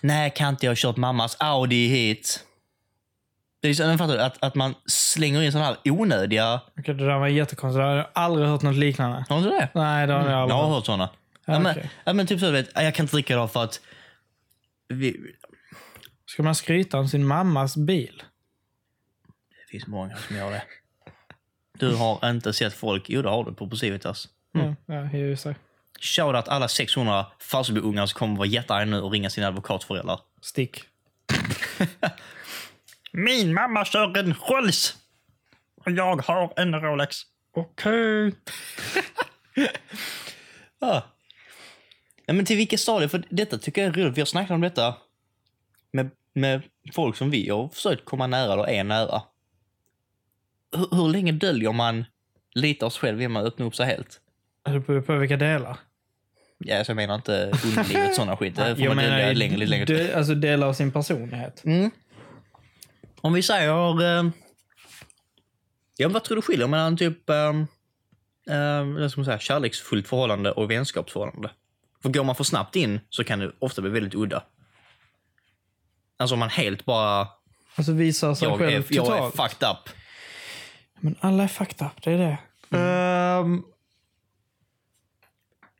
Speaker 2: Nej, kan inte. Jag har kört mammas Audi hit. Det är så, men fattar du? Att, att man slänger in sådana här onödiga...
Speaker 1: okej, det där var jättekonstigt. Jag har aldrig hört något liknande.
Speaker 2: Har du det?
Speaker 1: Nej, det har jag
Speaker 2: Jag
Speaker 1: aldrig
Speaker 2: har
Speaker 1: hört.
Speaker 2: hört sådana.
Speaker 1: Ja,
Speaker 2: Mm. Ja, men,
Speaker 1: okej.
Speaker 2: ja, men typ så, du vet, jag kan inte dricka idag för att... Vi,
Speaker 1: Ska man skryta om sin mammas bil?
Speaker 2: det finns många som gör det. Du har inte sett folk... Jo, det har du på alltså. Posivitas.
Speaker 1: Mm. Ja, ja, just det.
Speaker 2: Shoutout alla 600 Falsterboungar som kommer vara jättearga nu och ringa sina advokatföräldrar.
Speaker 1: Stick.
Speaker 2: Min mamma kör en Rolls. Och jag har en Rolex.
Speaker 1: Okej.
Speaker 2: Ja. Nej, men till vilket stadie? För detta tycker jag är roligt. Vi har snackat om detta med, med folk som vi har försökt komma nära eller är nära. Hur, hur länge döljer man lite av sig själv innan man öppnar upp sig helt?
Speaker 1: Det beror på vilka delar.
Speaker 2: Ja, alltså jag menar inte underlivet sådana skit. Det får
Speaker 1: Jag
Speaker 2: man dölja
Speaker 1: menar,
Speaker 2: längre, lite längre.
Speaker 1: dö- alltså delar av sin personlighet.
Speaker 2: Mm. Om vi säger... Eh, ja, men vad tror du skiljer mellan typ... Eh, eh, vad ska man säga, kärleksfullt förhållande och vänskapsförhållande? För går man för snabbt in så kan det ofta bli väldigt udda. Alltså om man helt bara...
Speaker 1: Alltså visar sig
Speaker 2: Jag är,
Speaker 1: själv
Speaker 2: jag är
Speaker 1: totalt.
Speaker 2: fucked up.
Speaker 1: Men alla är fucked up, det är det. Ehm,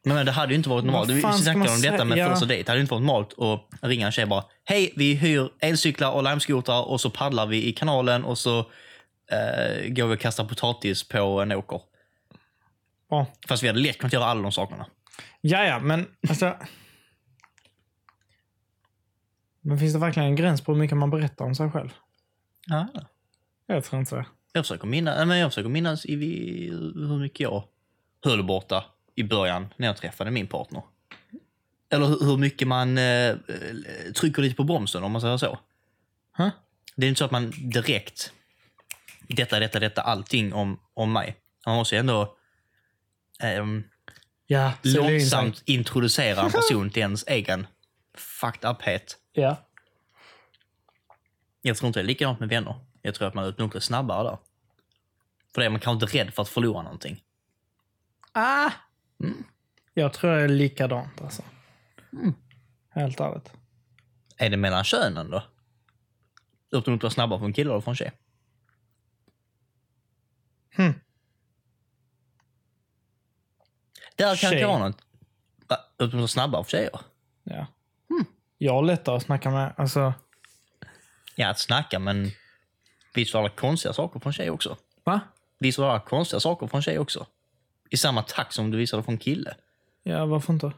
Speaker 2: Nej, men det hade ju inte varit normalt.
Speaker 1: Vad
Speaker 2: Vi
Speaker 1: fan ska
Speaker 2: snackade
Speaker 1: man
Speaker 2: om detta
Speaker 1: säga?
Speaker 2: med
Speaker 1: Ja.
Speaker 2: första dejt. Det hade inte varit normalt att ringa en tjej och bara Hej, vi hyr elcyklar och limeskotrar och så paddlar vi i kanalen och så eh, går vi och kastar potatis på en åker.
Speaker 1: ja.
Speaker 2: Fast vi hade lätt kunnat göra alla de sakerna.
Speaker 1: Ja, ja, men alltså... Men finns det verkligen en gräns på hur mycket man berättar om sig själv?
Speaker 2: Ja.
Speaker 1: Jag tror inte det.
Speaker 2: Jag försöker minnas, nej, men jag försöker minnas i, vi- hur mycket jag höll borta i början när jag träffade min partner. Eller hur, hur mycket man eh, trycker lite på bromsen om man säger så.
Speaker 1: Huh?
Speaker 2: Det är inte så att man direkt detta, detta, detta, allting om, om mig. Man måste ju ändå ehm,
Speaker 1: Ja, sälja in sig.
Speaker 2: långsamt introducera en person till ens egen fucked uphet.
Speaker 1: Ja.
Speaker 2: Jag tror inte det är likadant med vänner. Jag tror att man öppnar upp det snabbare där. För det är man kanske inte rädd för att förlora någonting.
Speaker 1: Ah!
Speaker 2: Mm.
Speaker 1: Jag tror det är likadant alltså. Helt ärligt.
Speaker 2: Är det mellan könen då? Öppnar upp det snabbare för en kille eller för en tjej?
Speaker 1: Hmm.
Speaker 2: Där kan
Speaker 1: Tjej.
Speaker 2: det vara något. Va? Öppnar upp det snabbare för tjejer?
Speaker 1: Ja.
Speaker 2: Mm.
Speaker 1: Jag har lättare att snacka med. Alltså,
Speaker 2: Ja, att snacka men visst var det konstiga saker från tjej också?
Speaker 1: va?
Speaker 2: Visst var det konstiga saker från tjej också? I samma takt som du visade från kille?
Speaker 1: Ja, varför inte?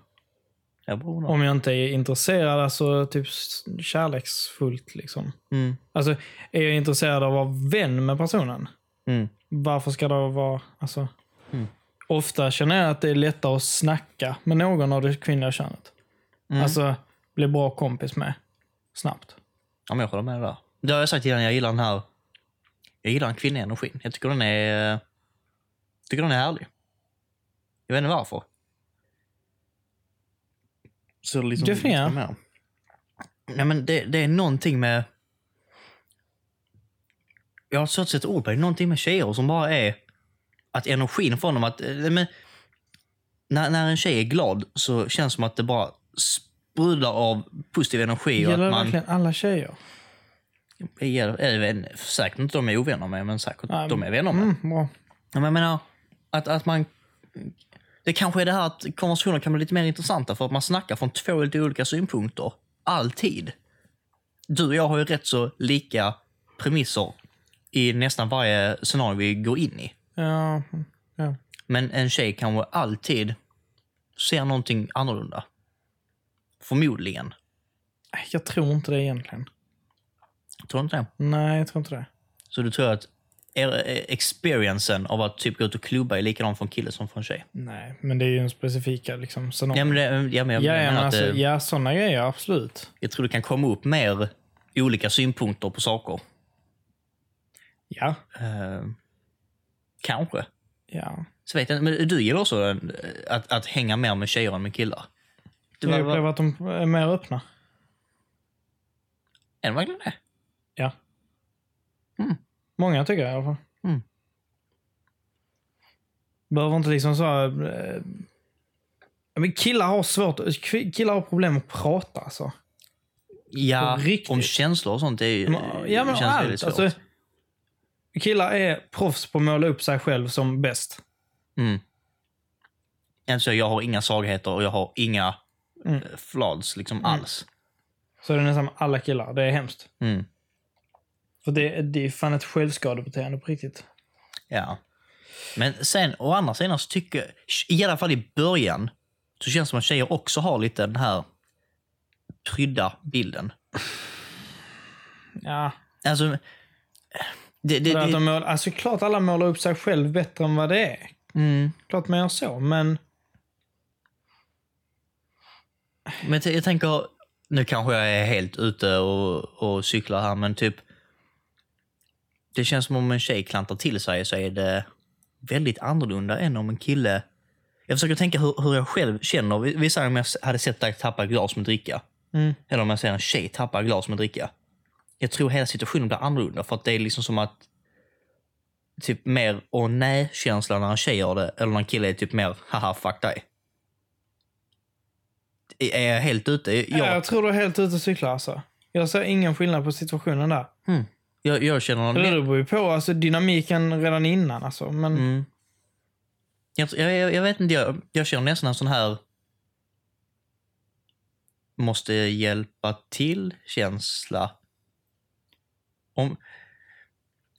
Speaker 2: Jag bara undrar.
Speaker 1: Om jag inte är intresserad, alltså typ s- kärleksfullt liksom.
Speaker 2: Mm.
Speaker 1: Alltså, är jag intresserad av att vara vän med personen?
Speaker 2: Mm.
Speaker 1: Varför ska det vara... Alltså,
Speaker 2: Mm.
Speaker 1: Ofta känner jag att det är lättare att snacka med någon av det kvinnliga könet.
Speaker 2: Mm.
Speaker 1: Alltså, bli bra kompis med snabbt.
Speaker 2: Ja, men jag håller med där. Det har jag sagt innan, jag gillar den här... Jag gillar den kvinnliga energin. Jag tycker den är... eh, tycker den är härlig. Jag vet inte varför. Så liksom...
Speaker 1: Definiera.
Speaker 2: jag med. Nej, men det, det är någonting med... Jag har svårt att sätta ord på det. Någonting med tjejer som bara är... Att energin från dem, att... eh, nej, Men, när, när en tjej är glad så känns det som att det bara sprudlar av positiv energi. och
Speaker 1: Gäller det
Speaker 2: att man,
Speaker 1: verkligen alla tjejer?
Speaker 2: det gäller- är vän, säkert inte de är ovänner med, men säkert
Speaker 1: Nej,
Speaker 2: de är vänner med.
Speaker 1: Mm, bra.
Speaker 2: Men jag menar, att, att man... Det kanske är det här att konversationer kan bli lite mer intressanta för att man snackar från två lite olika synpunkter. Alltid. Du och jag har ju rätt så lika premisser i nästan varje scenario vi går in i.
Speaker 1: Ja, mm, ja.
Speaker 2: Men en tjej kanske alltid ser någonting annorlunda. Förmodligen.
Speaker 1: Nej, Jag tror inte det egentligen.
Speaker 2: Tror du inte det?
Speaker 1: Nej, jag tror inte det.
Speaker 2: Så du tror att er, eh, experiencen av att typ gå ut och klubba är likadan från kille som från tjej?
Speaker 1: Nej, men det är ju en specifika liksom, scenario.
Speaker 2: Ja, men, det, ja, men jag
Speaker 1: Ja,
Speaker 2: menar
Speaker 1: ja, men
Speaker 2: att
Speaker 1: alltså,
Speaker 2: eh,
Speaker 1: ja, sådana grejer, absolut.
Speaker 2: jag tror det kan komma upp mer olika synpunkter på saker.
Speaker 1: Ja.
Speaker 2: Eh, kanske.
Speaker 1: ja.
Speaker 2: Så vet jag, inte. men du gillar också den, eh, att, att hänga mer med tjejer än med killar?
Speaker 1: Det
Speaker 2: Du, var,
Speaker 1: jag
Speaker 2: var,
Speaker 1: upplever att de är mer öppna.
Speaker 2: är det verkligen det?
Speaker 1: Ja.
Speaker 2: Mm.
Speaker 1: Många tycker jag i alla fall.
Speaker 2: Mm.
Speaker 1: Behöver inte liksom så... här, eh, men killar har svårt, kvi- killar har problem att prata alltså.
Speaker 2: Ja,
Speaker 1: På riktigt.
Speaker 2: om känslor och sånt. Det är ju,
Speaker 1: Ja men
Speaker 2: känns väldigt
Speaker 1: allt.
Speaker 2: svårt.
Speaker 1: Alltså, killar är proffs på att måla upp sig själv som bäst.
Speaker 2: Mm. Alltså, jag har inga svagheter och jag har inga
Speaker 1: Mm.
Speaker 2: eh, flaws liksom alls.
Speaker 1: Så är det nästan med alla killar. Det är hemskt.
Speaker 2: Mm.
Speaker 1: För det, det är fan ett självskadebeteende på riktigt.
Speaker 2: Ja. Men sen, å andra sidan så tycker jag, i alla fall i början, så känns det som att tjejer också har lite den här prydda bilden.
Speaker 1: Ja,
Speaker 2: Alltså, det, det,
Speaker 1: det, att
Speaker 2: det,
Speaker 1: de mål, alltså klart alla målar upp sig själv bättre än vad det är.
Speaker 2: mm.
Speaker 1: Klart man gör så, men
Speaker 2: Men jag t- jag tänker, nu kanske jag är helt ute och, och cyklar här, men typ. Det känns som om en tjej klantar till sig så är det väldigt annorlunda än om en kille... Jag försöker tänka hur, hur jag själv känner. Vi, vi säger om jag s- hade sett dig tappa glas med dricka.
Speaker 1: mm,
Speaker 2: Eller om jag ser en tjej tappa glas med dricka. Jag tror hela situationen blir annorlunda för att det är liksom som att typ mer åh nej-känsla när en tjej gör det eller när en kille är typ mer haha fuck dig. Är jag helt ute?
Speaker 1: jag,
Speaker 2: Jag,
Speaker 1: tror du är helt ute och cyklar alltså. Jag ser ingen skillnad på situationen där.
Speaker 2: mm, jag, jag känner
Speaker 1: Eller
Speaker 2: någon...
Speaker 1: det beror ju på alltså, dynamiken redan innan. Alltså. Men
Speaker 2: Mm. Jag, jag, jag vet inte, jag, jag känner nästan en sån här måste hjälpa till-känsla. Om...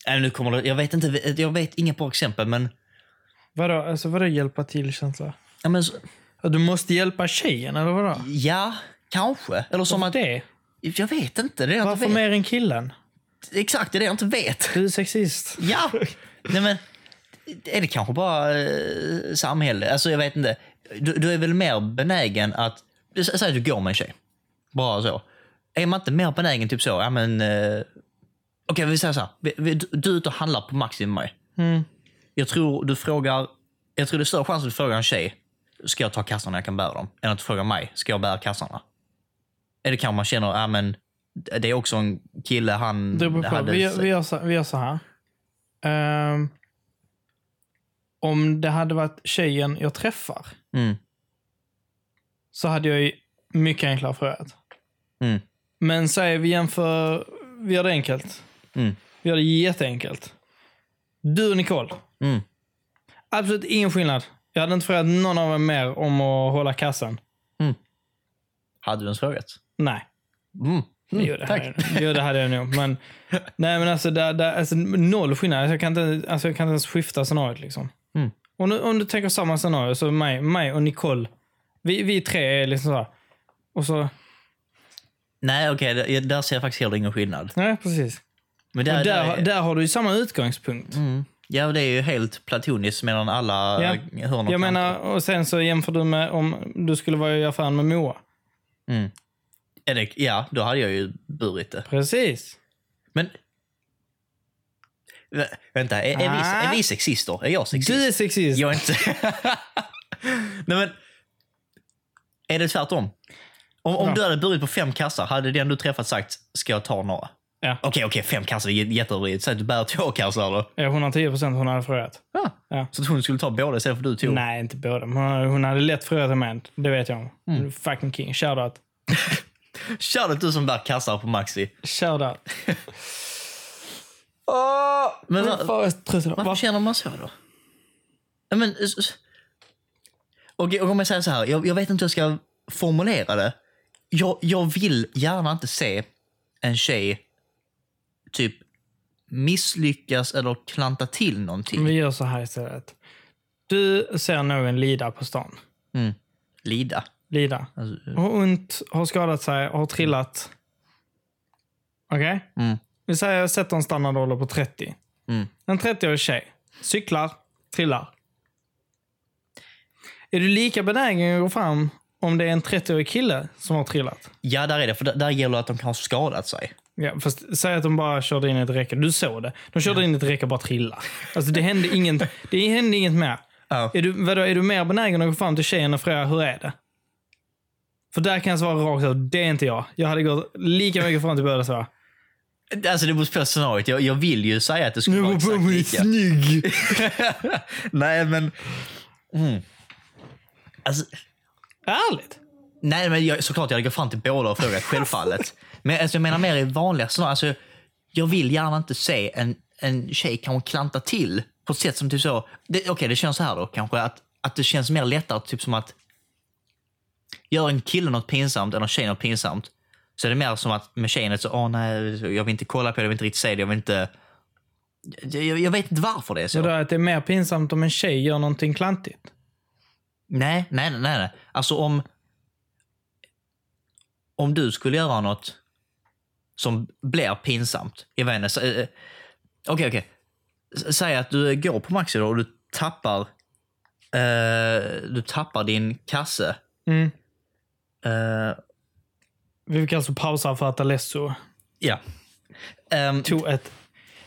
Speaker 2: Nej, nu kommer det, jag vet inte, jag vet inga bra exempel, men...
Speaker 1: vadå, alltså, vadå hjälpa till-känsla?
Speaker 2: Ja, men så,
Speaker 1: Du måste hjälpa tjejen, eller vadå?
Speaker 2: ja kanske. Eller som att...
Speaker 1: Varför det?
Speaker 2: Jag vet inte. Det är det jag inte
Speaker 1: Varför
Speaker 2: vet.
Speaker 1: mer än killen?
Speaker 2: Exakt, det är det jag inte vet.
Speaker 1: Du är sexist.
Speaker 2: Ja! Nej, men, är det kanske bara eh, samhälle? Alltså, jag vet inte. Du, du är väl mer benägen att... du sä- Säg att du går med en tjej. Bara så. Är man inte mer benägen typ så, ja men... Eh, Okej, vi säger så här. Vi, vi, du, du är ute och handlar på Maxi med mig.
Speaker 1: Mm.
Speaker 2: Jag tror du frågar... Jag tror det är större chans att du frågar en tjej, ska jag ta kassarna jag kan bära dem? Än att du frågar mig, ska jag bära kassarna? Eller kanske man känner, ja men... Det är också en kille, han...
Speaker 1: Det beror på.
Speaker 2: hade-
Speaker 1: Vi, gör- vi, gör så, vi gör så här. Ehm, om det hade varit tjejen jag träffar
Speaker 2: Mm,
Speaker 1: så hade jag ju mycket enklare frågat.
Speaker 2: mm,
Speaker 1: Men säg vi jämför, vi gör det enkelt.
Speaker 2: mm,
Speaker 1: Vi gör det jätteenkelt. Du och Nicole,
Speaker 2: mm.
Speaker 1: absolut ingen skillnad. Jag hade inte frågat någon av er mer om att hålla kassan.
Speaker 2: Hade du ens frågat?
Speaker 1: Nej.
Speaker 2: Mm. Mm,
Speaker 1: jo, det
Speaker 2: tack.
Speaker 1: Hade jag, jo, det hade jag nog. Men, nej, men alltså, där, där, alltså noll skillnad. Alltså, jag, kan inte, alltså, jag kan inte ens skifta scenariot. Liksom.
Speaker 2: Mm.
Speaker 1: Om, du, om du tänker samma scenario, så mig, mig och Nicole. Vi, vi tre är liksom så här. Och så,
Speaker 2: Nej, okej. det- där ser jag faktiskt heller ingen skillnad.
Speaker 1: nej, precis.
Speaker 2: Men
Speaker 1: Där,
Speaker 2: där,
Speaker 1: och där,
Speaker 2: där,
Speaker 1: har- där har du ju samma utgångspunkt.
Speaker 2: Mm. Ja, det är ju helt platoniskt mellan alla
Speaker 1: Ja.
Speaker 2: ja. hörn och kanter.
Speaker 1: Jag menar, och sen så jämför du med om du skulle vara i affären med Moa.
Speaker 2: Mm. Är det, ja, då hade jag ju burit det.
Speaker 1: Precis.
Speaker 2: Men... Vä- Vänta, är, är, vi, är vi sexister? Är jag sexist?
Speaker 1: Du är sexist.
Speaker 2: Jag är inte... Nej, men... Är det tvärtom? Om, om
Speaker 1: Ja.
Speaker 2: du hade burit på fem kassar, hade den du träffat sagt “ska jag ta några?”
Speaker 1: Ja.
Speaker 2: Okej, okej, fem kassar det är jätteöverdrivet. Säg att du bär två kassar eller?
Speaker 1: Ja, 110 procent hon hade frågat.
Speaker 2: Ja.
Speaker 1: Ja.
Speaker 2: Så att hon skulle ta båda istället för du tog?
Speaker 1: Nej, inte båda. men Hon hade, hon hade lätt frågat mig. Det vet jag. Mm. Fucking king. Shoutout.
Speaker 2: Shoutout du som bär kassar på Maxi.
Speaker 1: Shoutout.
Speaker 2: Men va-
Speaker 1: Fan vad jag är trött idag.
Speaker 2: varför
Speaker 1: Varför?
Speaker 2: känner man så då? Ja, Men, s- s- och, och om jag säger så här, jag, jag vet inte hur jag ska formulera det. Jag, jag vill gärna inte se en tjej typ misslyckas eller klanta till någonting.
Speaker 1: Vi gör så här istället. Du ser någon lida på stan.
Speaker 2: Mm. Lida.
Speaker 1: Lida.
Speaker 2: Alltså,
Speaker 1: Har ont, har skadat sig, har trillat. Okej?
Speaker 2: Mm.
Speaker 1: Vi säger jag sätter en standardålder på 30.
Speaker 2: Mm.
Speaker 1: En 30-årig tjej. Cyklar, trillar. Är du lika benägen att gå fram om det är en 30-årig kille som har trillat?
Speaker 2: ja, där är det. För där, där gäller det att de kan ha skadat sig.
Speaker 1: Ja, fast säg att de bara körde in i ett räcke. Du såg det. De körde in i ett räcke och bara trillade. Alltså, det, hände inget, det hände inget mer.
Speaker 2: Ja.
Speaker 1: Är du, vadå, är du mer benägen att gå fram till tjejen och fråga hur är det? För där kan jag svara rakt ut, det är inte jag. Jag hade gått lika mycket fram till båda och så.
Speaker 2: Alltså det beror på scenariot. Jag, jag vill ju säga att det skulle vara exakt lika.
Speaker 1: snygg!
Speaker 2: nej, men... Mm. Alltså,
Speaker 1: Ärligt?
Speaker 2: nej, men jag, såklart jag går fram till båda och frågar, självfallet. Men alltså, jag menar mer i vanliga scenarier. Alltså, jag vill gärna inte se en, en tjej kanske klanta till på ett sätt som typ så... det- Okej, det känns så här då kanske. Att, att det känns mer lättare, typ som att... Gör en kille något pinsamt eller en tjej något pinsamt så är det mer som att med tjejen är det så, åh nej, jag vill inte kolla på det, jag vill inte riktigt se det, jag vill inte... Jag, jag- jag vet inte varför det är så.
Speaker 1: Vadå, att det är mer pinsamt om en tjej gör någonting klantigt?
Speaker 2: Nej, nej, nej, nej. Alltså om... Om du skulle göra något som blir pinsamt i vännen. Så, eh, eh, Okej, okej. S- Säg att du går på Maxi då och du tappar, eh, du tappar din kasse.
Speaker 1: Mm.
Speaker 2: Eh,
Speaker 1: Vi fick alltså pausa för att Alesso
Speaker 2: ja. Ehm,
Speaker 1: tog ett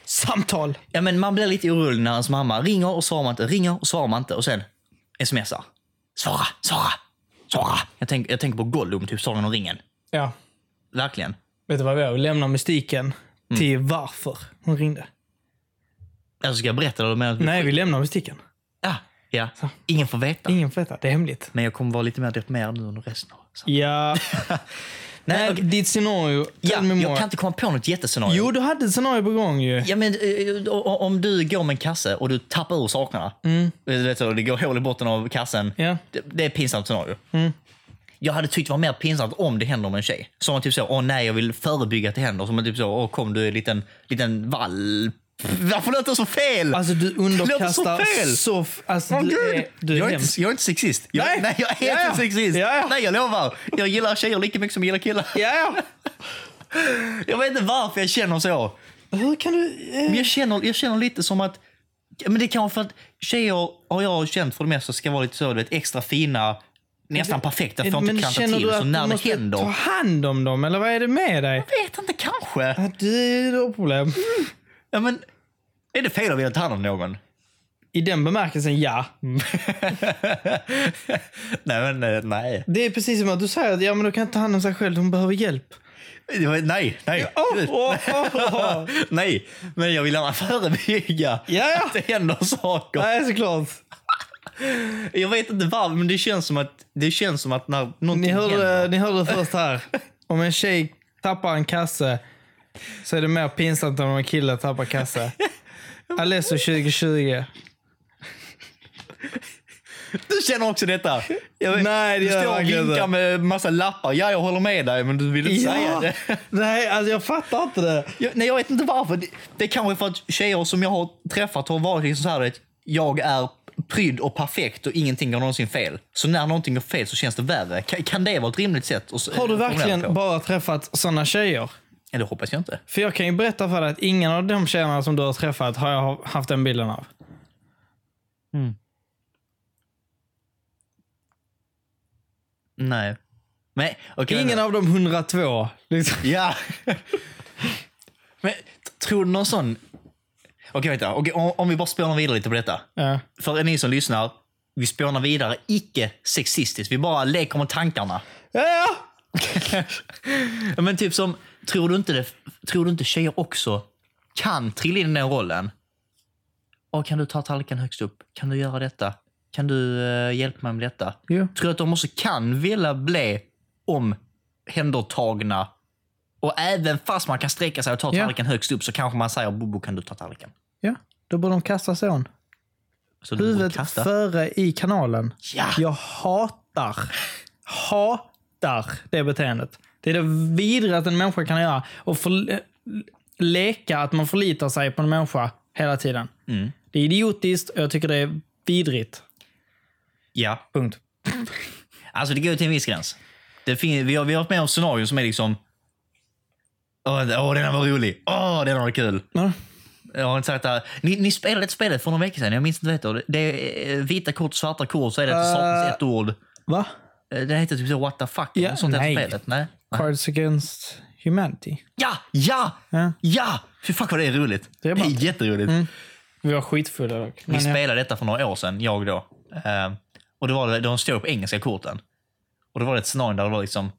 Speaker 1: samtal.
Speaker 2: ja men man blir lite orolig när hans mamma ringer och svarar man inte, ringer och svarar man inte och sen smsar. Svara, svara, svara. Jag, tänk, jag tänker på Gollum, typ Sagan om ringen.
Speaker 1: Ja.
Speaker 2: Verkligen.
Speaker 1: Vet du vad vi gör? Vi lämnar mystiken till varför hon ringde.
Speaker 2: Alltså ska jag berätta det? eller menar du att-
Speaker 1: Nej, vi lämnar mystiken.
Speaker 2: Ah, ja. Ingen får veta.
Speaker 1: Ingen får veta. Det är hemligt.
Speaker 2: Men jag kommer vara lite mer deprimerad nu under resten av så.
Speaker 1: Ja. Nej,
Speaker 2: okej.
Speaker 1: Ditt scenario.
Speaker 2: Ja,
Speaker 1: tell me more.
Speaker 2: jag kan inte komma på något jättescenario.
Speaker 1: Jo, du hade ett scenario på gång ju.
Speaker 2: Ja, men, eh, o- o- om du går med en kasse och du tappar ur sakerna. Mm. Du vet, så, det går hål i botten av kassen.
Speaker 1: Ja. Mm.
Speaker 2: Det, det är ett pinsamt scenario. Jag hade tyckt det var mer pinsamt om det händer med en tjej. Som att typ så, åh nej jag vill förebygga att det händer. Som att typ så, åh kom du är en liten, liten vall. Varför låter det så fel?
Speaker 1: Alltså du underkastar
Speaker 2: låter så fel.
Speaker 1: så... f- alltså,
Speaker 2: Åh,
Speaker 1: du
Speaker 2: Gud.
Speaker 1: är, du
Speaker 2: jag,
Speaker 1: är
Speaker 2: är inte,
Speaker 1: hemsk.
Speaker 2: jag är inte sexist. Jag, nej.
Speaker 1: Nej.
Speaker 2: jag är
Speaker 1: Ja, ja.
Speaker 2: inte sexist.
Speaker 1: Ja, ja.
Speaker 2: Nej, jag lovar. Jag gillar tjejer lika mycket som jag gillar killar.
Speaker 1: Ja,
Speaker 2: Jag vet inte varför jag känner så.
Speaker 1: ja. Hur kan du... Eh,
Speaker 2: Men jag känner, jag känner lite som att... Men det är kanske för att tjejer har jag känt för det mesta ska vara lite så, du vet, extra fina, nästan perfekta, får inte
Speaker 1: men
Speaker 2: klanta
Speaker 1: känner
Speaker 2: till.
Speaker 1: du
Speaker 2: Så
Speaker 1: att
Speaker 2: när
Speaker 1: du
Speaker 2: det
Speaker 1: måste
Speaker 2: händer...
Speaker 1: ta hand om dem, eller vad är det med dig?
Speaker 2: Jag vet inte, kanske.
Speaker 1: Ja, Det är då problem.
Speaker 2: Ja, men, är det fel att vilja ta hand om någon?
Speaker 1: I den bemärkelsen, ja.
Speaker 2: nej, men eh, nej.
Speaker 1: Det är precis som att du säger att ja, men du kan inte ta hand om sig själv, hon behöver hjälp.
Speaker 2: Det var- Nej, nej.
Speaker 1: Åh, åh, åh, åh.
Speaker 2: nej, men jag vill gärna förebygga
Speaker 1: Ja, ja.
Speaker 2: att det händer saker.
Speaker 1: Nej, såklart.
Speaker 2: Jag vet inte varför, men det känns som att, det känns som att när någonting
Speaker 1: Ni eh,
Speaker 2: händer...
Speaker 1: hörde, ni hörde det först här. Om en tjej tappar en kasse så är det mer pinsamt än om en kille tappar kasse. Alesso 2020.
Speaker 2: Du känner också detta? Jag
Speaker 1: Nej, det
Speaker 2: du
Speaker 1: gör jag
Speaker 2: står och
Speaker 1: verkligen
Speaker 2: vinkar
Speaker 1: inte.
Speaker 2: med massa lappar. Ja, jag håller med dig, men du vill inte säga det.
Speaker 1: Nej, alltså jag fattar inte det.
Speaker 2: Jag, nej, jag vet inte varför. Det, det är kanske för att tjejer som jag har träffat har varit liksom så här, att jag är prydd och perfekt och ingenting går någonsin fel. Så när någonting går fel så känns det värre. Kan, kan det vara ett rimligt sätt? att s-
Speaker 1: Har du
Speaker 2: att formulera det på?
Speaker 1: verkligen bara träffat sådana tjejer?
Speaker 2: Ja, det hoppas jag inte.
Speaker 1: För jag kan ju berätta för dig att ingen av de tjejerna som du har träffat har jag haft den bilden av.
Speaker 2: Nej. Nej, okej.
Speaker 1: Ingen av de 102. Liksom.
Speaker 2: Ja. men t- tror du någon sån... Okej, vänta. Okej, om, om vi bara spånar vidare lite på detta.
Speaker 1: Ja.
Speaker 2: för er ni som lyssnar, vi spånar vidare icke sexistiskt. Vi bara leker med tankarna.
Speaker 1: Ja,
Speaker 2: Ja, Men typ som, tror du inte, det, tror du inte tjejer också kan trilla in i den rollen? Och kan du ta tallriken högst upp? Kan du göra detta? Kan du eh, hjälpa mig med detta?
Speaker 1: Jo.
Speaker 2: Tror du att de också kan vilja bli omhändertagna? Och även fast man kan sträcka sig och ta
Speaker 1: Ja.
Speaker 2: tallriken högst upp så kanske man säger Bobo kan du ta tallriken?
Speaker 1: ja. Då borde de kasta sån.
Speaker 2: Så du borde
Speaker 1: Huvudet
Speaker 2: kasta.
Speaker 1: före i kanalen.
Speaker 2: Ja.
Speaker 1: Jag hatar, hatar det beteendet. Det är det vidrigaste en människa kan göra. Och för, eh, leka att man förlitar sig på en människa hela tiden.
Speaker 2: Mm.
Speaker 1: Det är idiotiskt och jag tycker det är vidrigt.
Speaker 2: Ja.
Speaker 1: Punkt.
Speaker 2: Alltså det går ju till en viss gräns. Det fin- vi, har, vi har varit med om scenarion som är liksom... Åh, den- åh den här var rolig. Åh, den här var kul.
Speaker 1: Ja.
Speaker 2: Jag har inte sagt det här. Ni, ni spelade ett spel för några veckor sedan. Jag minns inte vad det heter. Det är eh, vita kort, svarta kort, så är det uh, saknas ett ord.
Speaker 1: Va?
Speaker 2: Eh, Det heter typ så what the fuck.
Speaker 1: Eh. Ja,
Speaker 2: eller något sånt nej.
Speaker 1: nej.
Speaker 2: spelet. Nej.
Speaker 1: Cards against humanity.
Speaker 2: Ja, ja,
Speaker 1: Ja.
Speaker 2: ja! Fy fuck vad det är roligt. Det
Speaker 1: Det
Speaker 2: är,
Speaker 1: är bara- Mm.
Speaker 2: jätteroligt.
Speaker 1: Vi var skitfulla dock.
Speaker 2: Vi
Speaker 1: Men eh, ja.
Speaker 2: spelade detta för några år sedan, jag då. Eh, och det var det, de står på engelska korten. Och det var det ett scenario där det var liksom...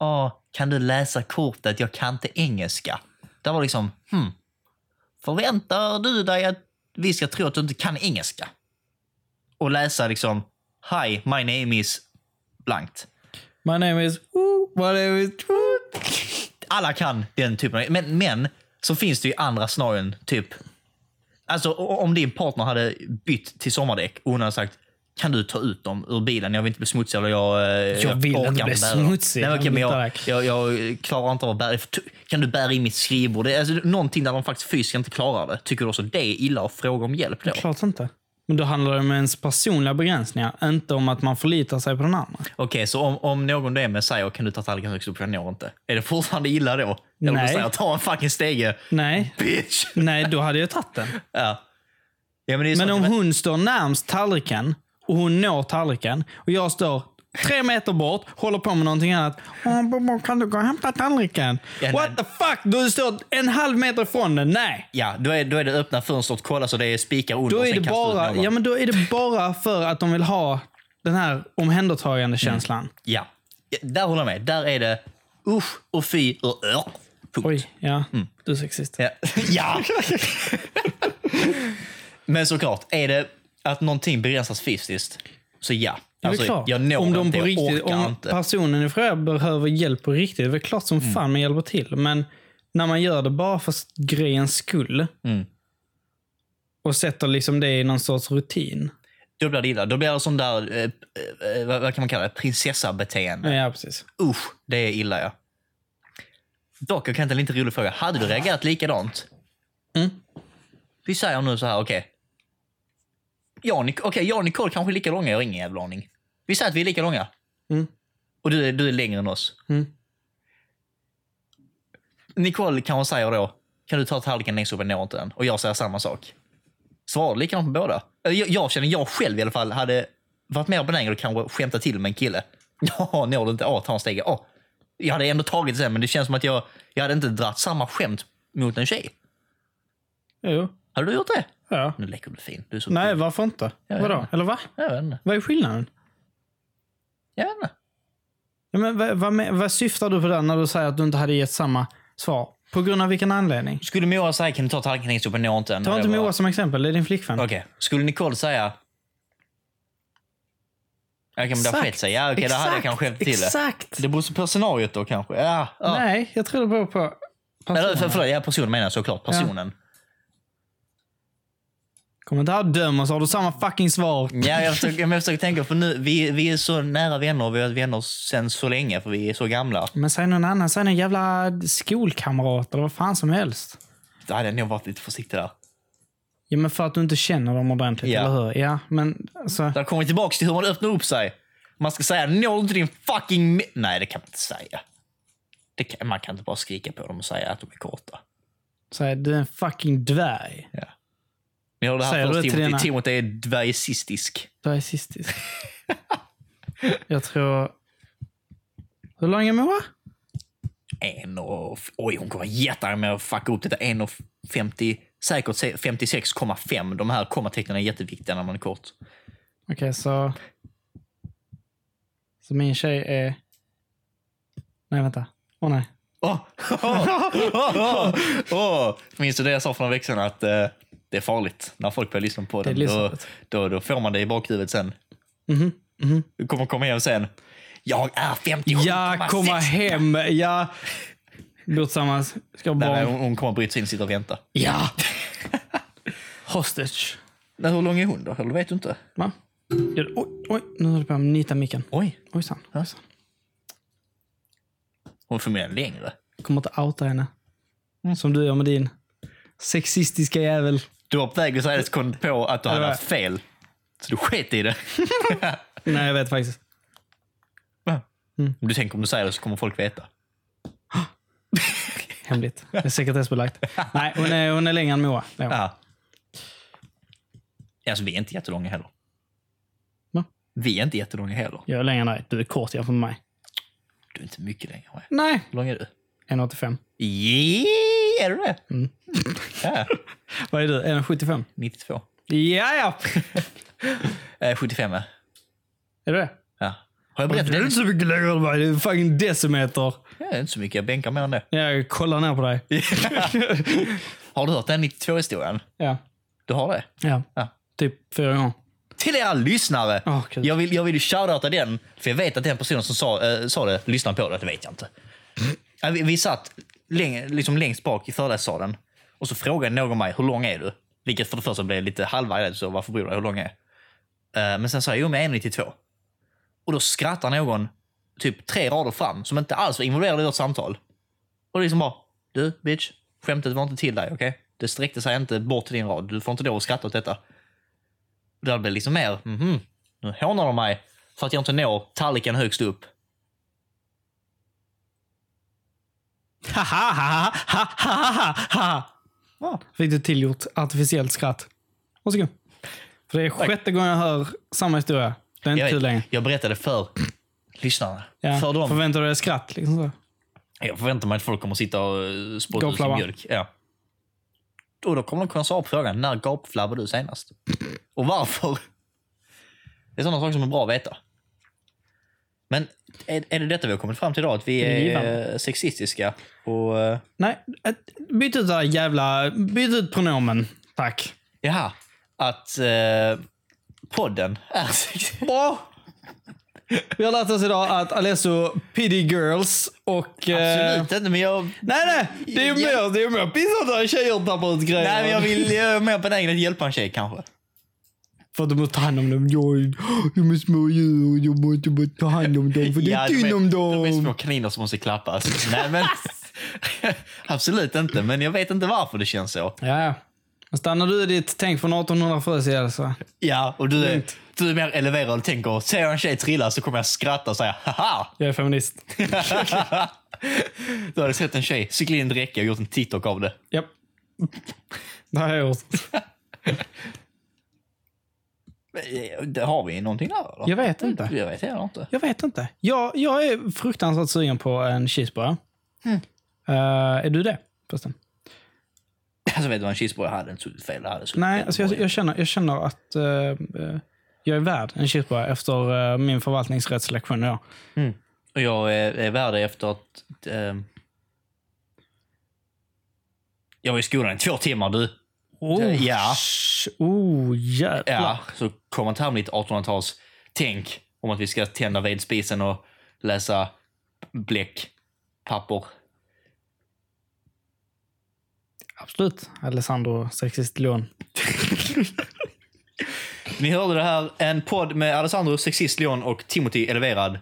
Speaker 2: Åh, kan du läsa kortet? Jag kan inte engelska. Det var liksom, hmm. Förväntar du dig att vi ska tro att du inte kan engelska? Och läsa liksom, Hi, my name is... blankt.
Speaker 1: My name is... Ooh, my name is... Ooh.
Speaker 2: alla kan den typen av... Men, men så finns det ju andra scenarion, typ... Alltså o- om din partner hade bytt till sommardäck och hon hade sagt kan du ta ut dem ur bilen? Jag vill inte bli smutsig. Eller jag, eh,
Speaker 1: vill
Speaker 2: orkar
Speaker 1: inte bli
Speaker 2: bära dem."
Speaker 1: smutsig.
Speaker 2: Nej, men okej, men jag,
Speaker 1: Tack.
Speaker 2: jag, jag klarar inte av att bära. det. Kan du bära in mitt skrivbord? Det är alltså någonting där de faktiskt fysiskt inte klarar det. Tycker du också det är illa att fråga om hjälp då?
Speaker 1: Klart inte. Men då handlar det om ens personliga begränsningar, inte om att man förlitar sig på den andra.
Speaker 2: Okej, så om, om någon du är med säger kan du ta tallriken högst upp, jag når inte. Är det fortfarande illa då? Eller om du
Speaker 1: Nej.
Speaker 2: säger ta en fucking stege,
Speaker 1: Nej,
Speaker 2: bitch!
Speaker 1: nej då hade jag tagit den.
Speaker 2: Ja. Ja, men det är
Speaker 1: Men
Speaker 2: sånt-
Speaker 1: om hon står närmst tallriken och hon når tallriken och jag står tre meter bort, håller på med någonting annat. Åh, Bobo, kan du gå och hämta tallriken?
Speaker 2: Ja,
Speaker 1: What the fuck? Du står en halv meter ifrån den. Nej.
Speaker 2: Ja, då är, då är det öppna fönstret, kolla så det är spikar under
Speaker 1: Då
Speaker 2: och
Speaker 1: är,
Speaker 2: sen
Speaker 1: det
Speaker 2: kastar du ut
Speaker 1: bara,
Speaker 2: någon.
Speaker 1: ja, men då är det bara för att de vill ha den här omhändertagande känslan.
Speaker 2: Ja. Ja, Där håller jag med. Där är det usch och fy och ör. Punkt.
Speaker 1: Oj, ja.
Speaker 2: Mm.
Speaker 1: Du är sexist.
Speaker 2: Ja. ja. Men såklart, är det att någonting begränsas fysiskt, så ja.
Speaker 1: Det är väl
Speaker 2: Alltså,
Speaker 1: klart.
Speaker 2: jag når
Speaker 1: om de
Speaker 2: inte,
Speaker 1: på
Speaker 2: jag
Speaker 1: riktigt,
Speaker 2: orkar
Speaker 1: om
Speaker 2: inte.
Speaker 1: personen i fråga behöver hjälp på riktigt, det är väl klart som fan man hjälper till. Men när man gör det bara för grejens skull
Speaker 2: Mm.
Speaker 1: och sätter liksom det i någon sorts rutin.
Speaker 2: Då blir det illa. Då blir det sån där, eh, eh, vad, vad kan man kalla det, prinsessa-beteende.
Speaker 1: Ja, precis.
Speaker 2: Usch, det är illa ja. Dock, jag kan inte en lite rolig fråga. Hade du reagerat likadant?
Speaker 1: Mm.
Speaker 2: Vi säger nu så här, okej. Jag, och Nic- okej, jag och Nicole kanske är lika långa, jag har ingen jävla aning. Vi säger att vi är lika långa.
Speaker 1: Mm.
Speaker 2: Och du är, du är längre än oss.
Speaker 1: Mm.
Speaker 2: Nicole kanske säger då, kan du ta tallriken längst upp, jag når inte den. Och jag säger samma sak. Svarar du likadant på båda? Eller Jag, jag känner, jag själv i alla fall, hade varit mer benägen att kanske skämta till med en kille. Ja, når du inte? Ja, ta en steg. Ja. Jag hade ändå tagit det sen, men det känns som att jag, jag hade inte dratt samma skämt mot en tjej.
Speaker 1: Jo.
Speaker 2: Hade du gjort det?
Speaker 1: Ja.
Speaker 2: Nu leker du fin. Du är så
Speaker 1: Nej, varför inte?
Speaker 2: Ja, ja.
Speaker 1: Vadå? Eller va?
Speaker 2: Jag vet inte.
Speaker 1: Vad är skillnaden?
Speaker 2: Jag vet inte.
Speaker 1: Ja, men vad, vad, men- vad syftar du på där när du säger att du inte hade gett samma svar? På grund av vilken anledning?
Speaker 2: Skulle Moa säga, kan du ta tallriken längst upp? Jag når inte den.
Speaker 1: Ta
Speaker 2: Hade
Speaker 1: inte
Speaker 2: jag bara-
Speaker 1: Moa som exempel, det är din flickvän.
Speaker 2: Okej. Skulle Nicole säga... Jag kan bara
Speaker 1: Exakt.
Speaker 2: skett sig. Ja, okej, då hade jag kanske skämt till det.
Speaker 1: Exakt!
Speaker 2: Det beror på scenariot då kanske. Ja, ja.
Speaker 1: Nej, jag tror det beror på
Speaker 2: Eller för,
Speaker 1: personen.
Speaker 2: förlåt, ja, personen menar jag såklart. Personen.
Speaker 1: Kom inte här och döm oss, har du samma fucking svar?
Speaker 2: Ja, jag, försöker, men jag försöker tänka, för nu, vi, vi är så nära vänner. Vi har varit vänner sen så länge, för vi är så gamla.
Speaker 1: Men säg någon annan, säg någon jävla skolkamrat eller vad fan som helst.
Speaker 2: Då hade jag nog varit lite försiktig där.
Speaker 1: Ja, men för att du inte känner dem ordentligt,
Speaker 2: Ja.
Speaker 1: eller hur? Ja, men alltså,
Speaker 2: Där kommer vi tillbaka till hur man öppnar upp sig. Man ska säga nål inte din fucking... mi-" Nej, det kan man inte säga. Det kan, man kan inte bara skrika på dem och säga att de är korta.
Speaker 1: säg du är en fucking dvärg.
Speaker 2: Ni hörde det
Speaker 1: Säger
Speaker 2: här
Speaker 1: du
Speaker 2: först.
Speaker 1: det till dina-
Speaker 2: Timothy- Timothy är dvärgsistisk.
Speaker 1: Du är cistisk. jag tror... Hur lång är Moa?
Speaker 2: En och... Oj, hon kommer vara jättearg med att fucka upp detta. En och 50... Säkert se- 56,5. De här kommatecknen är jätteviktiga när man är kort.
Speaker 1: Okej, så... Så min tjej är... Nej, vänta. Åh nej.
Speaker 2: Åh! Åh! Åh! Åh! Minns du det jag sa för några veckor sedan? Att eh, det är farligt när folk börjar lyssna på
Speaker 1: Det är
Speaker 2: den. Då,
Speaker 1: livsfarligt.
Speaker 2: då, då får man det i bakhuvudet sen.
Speaker 1: Mhm. mhm.
Speaker 2: Du kommer komma hem sen. Jag är 57,6.
Speaker 1: Jag kommer hem. Jag... Bor tillsammans. Ska ha
Speaker 2: Nej, nej,
Speaker 1: barn.
Speaker 2: hon, hon kommer bryta sig in och sitta och vänta.
Speaker 1: Ja! Hostage.
Speaker 2: Men hur lång är hon då? Eller vet du inte?
Speaker 1: Va? Gör det- Oj, oj, nu höll du på att nita micken.
Speaker 2: Oj, alltså.
Speaker 1: Ojsan. ojsan.
Speaker 2: hon är förmodligen längre.
Speaker 1: Jag kommer inte outa henne. Som du gör med din sexistiska jävel.
Speaker 2: Du var på väg att säga det så kom du på att du hade
Speaker 1: Eller-
Speaker 2: haft fel. Så du sket i det.
Speaker 1: Nej, jag vet faktiskt.
Speaker 2: Om du tänker om du säger det så kommer folk veta.
Speaker 1: Hemligt. Det är sekretessbelagt. Nej, hon är, hon är längre än Moa. Ja.
Speaker 2: Ja. Alltså vi är inte jättelånga heller.
Speaker 1: Va?
Speaker 2: Vi är inte jättelånga heller.
Speaker 1: Jag är längre än dig. Du är kort jämfört med mig.
Speaker 2: Du är inte mycket längre. än jag.
Speaker 1: Nej.
Speaker 2: Hur lång är du?
Speaker 1: 1,85.
Speaker 2: Yeah, är du det?
Speaker 1: Mm.
Speaker 2: Ja,
Speaker 1: Vad är du? 1,75?
Speaker 2: 92.
Speaker 1: Ja, ja.
Speaker 2: Eh, 75 är.
Speaker 1: Är du det?
Speaker 2: Ja. Har jag berättat
Speaker 1: Du är
Speaker 2: det?
Speaker 1: inte så mycket längre än mig. Du är fucking decimeter.
Speaker 2: Ja, inte så mycket. Jag bänkar mer än det.
Speaker 1: Jag kollar ner på dig.
Speaker 2: Har du hört den 92-historien?
Speaker 1: Ja.
Speaker 2: Du har det?
Speaker 1: Ja.
Speaker 2: Ja.
Speaker 1: Typ fyra gånger.
Speaker 2: Till era lyssnare!
Speaker 1: Åh, Gud.
Speaker 2: jag, vill, jag vill ju shoutouta den, för jag vet att den personen som sa, eh, sa det lyssnar på det. Det vet jag inte. Ja, vi, vi satt läng, liksom längst bak i föreläsningssalen och så frågade någon mig, hur lång är du? Vilket för det första blev lite halvvarg, så varför bryr du dig hur lång jag är? Eh, men sen sa jag, jo men jag är 1,92. Och då skrattar någon typ tre rader fram, som inte alls var involverad i vårt samtal. Och liksom bara, du bitch, skämtet var inte till dig, okej? Det sträckte sig inte bort till din rad. Du får inte lov att skratta åt detta. Där blir det liksom mer, mhm, nu hånar de mig för att jag inte når tallriken högst upp. Ha, ha, ha, ha, ha, ha, ha, ha. Ja,
Speaker 1: Fick du tillgjort artificiellt skratt. Varsågod. För det är
Speaker 2: Tack.
Speaker 1: sjätte gången jag hör samma historia. Det är inte
Speaker 2: jag,
Speaker 1: kul längre.
Speaker 2: vet. jag berättade för lyssnarna.
Speaker 1: Ja.
Speaker 2: För dem.
Speaker 1: Förväntar du dig skratt? Liksom så.
Speaker 2: Jag förväntar mig att folk kommer sitta och eh, spotta ut sin
Speaker 1: Gapflabba.
Speaker 2: mjölk. Ja. Och då kommer de kunna svara på frågan, när gapflabbade du senast? Och varför? Det är sådana saker som är bra att veta. Men är, är det detta vi har kommit fram till idag? Att vi
Speaker 1: Det är
Speaker 2: är
Speaker 1: givande.
Speaker 2: eh, sexistiska? Och, eh,
Speaker 1: Nej, ett- byt ut det där jävla... Byt ut pronomen. Tack.
Speaker 2: jaha, att eh, podden är sexistisk?
Speaker 1: Bra! Vi har lärt oss idag att Alesso pity girls och... eh,
Speaker 2: Absolut inte, men jag,
Speaker 1: Nej, nej! Det är ju mer, det är ju mer pinsamt när tjejer tappar ut grejer.
Speaker 2: nej, men jag, vill, jag är mer benägen att hjälpa en tjej kanske.
Speaker 1: För att de måste ta hand om dem. Jag är, de är små djur och jag måste bara ta hand om dem för det är
Speaker 2: Ja,
Speaker 1: synd om
Speaker 2: De är små
Speaker 1: dem.
Speaker 2: kaniner som måste klappas. Alltså, Nej, men, absolut inte, men jag vet inte varför det känns så.
Speaker 1: Ja, ja. Men stannar du i ditt tänk från 1840 alltså.
Speaker 2: Ja, och du är,
Speaker 1: Lugnt.
Speaker 2: du är mer eleverad och tänker ser jag en tjej trilla så kommer jag skratta och säga haha.
Speaker 1: Jag är feminist.
Speaker 2: du hade sett en tjej cykla in i en räcka och gjort en TikTok av det.
Speaker 1: Japp. Det har jag gjort.
Speaker 2: eh, det har vi någonting där eller?
Speaker 1: Jag vet inte.
Speaker 2: Jag vet heller inte.
Speaker 1: Jag vet inte. Jag, jag är fruktansvärt sugen på en cheeseburgare.
Speaker 2: Mm.
Speaker 1: Eh, är du det? Förresten.
Speaker 2: Alltså vet du vad en cheeseburgare hade inte suttit fel. Det hade suttit
Speaker 1: Nej,
Speaker 2: fel.
Speaker 1: alltså jag, jag, känner, jag känner att eh, eh, jag är värd en cheeseburgare efter eh, min förvaltningsrättslektion. Ja.
Speaker 2: Och jag är, är värd det efter att... ehm, jag var i skolan i två timmar du.
Speaker 1: Oh,
Speaker 2: ja.
Speaker 1: sh- Oh, jävlar.
Speaker 2: Ja, så kom man fram lite 1800-tals tänk om att vi ska tända vedspisen och läsa bläck, papper.
Speaker 1: Absolut. Alessandro Sexist Leon.
Speaker 2: Ni hörde det här, en podd med Alessandro Sexist Leon och Timothy Eleverad.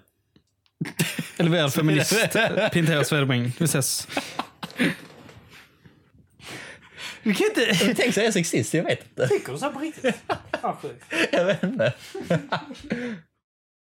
Speaker 1: Eller väl feminist. Pintera Svedeming. Vi ses.
Speaker 2: Vi kan inte... Tänk säga sexist, jag vet inte.
Speaker 1: Tycker du så på riktigt?
Speaker 2: Jag vet inte.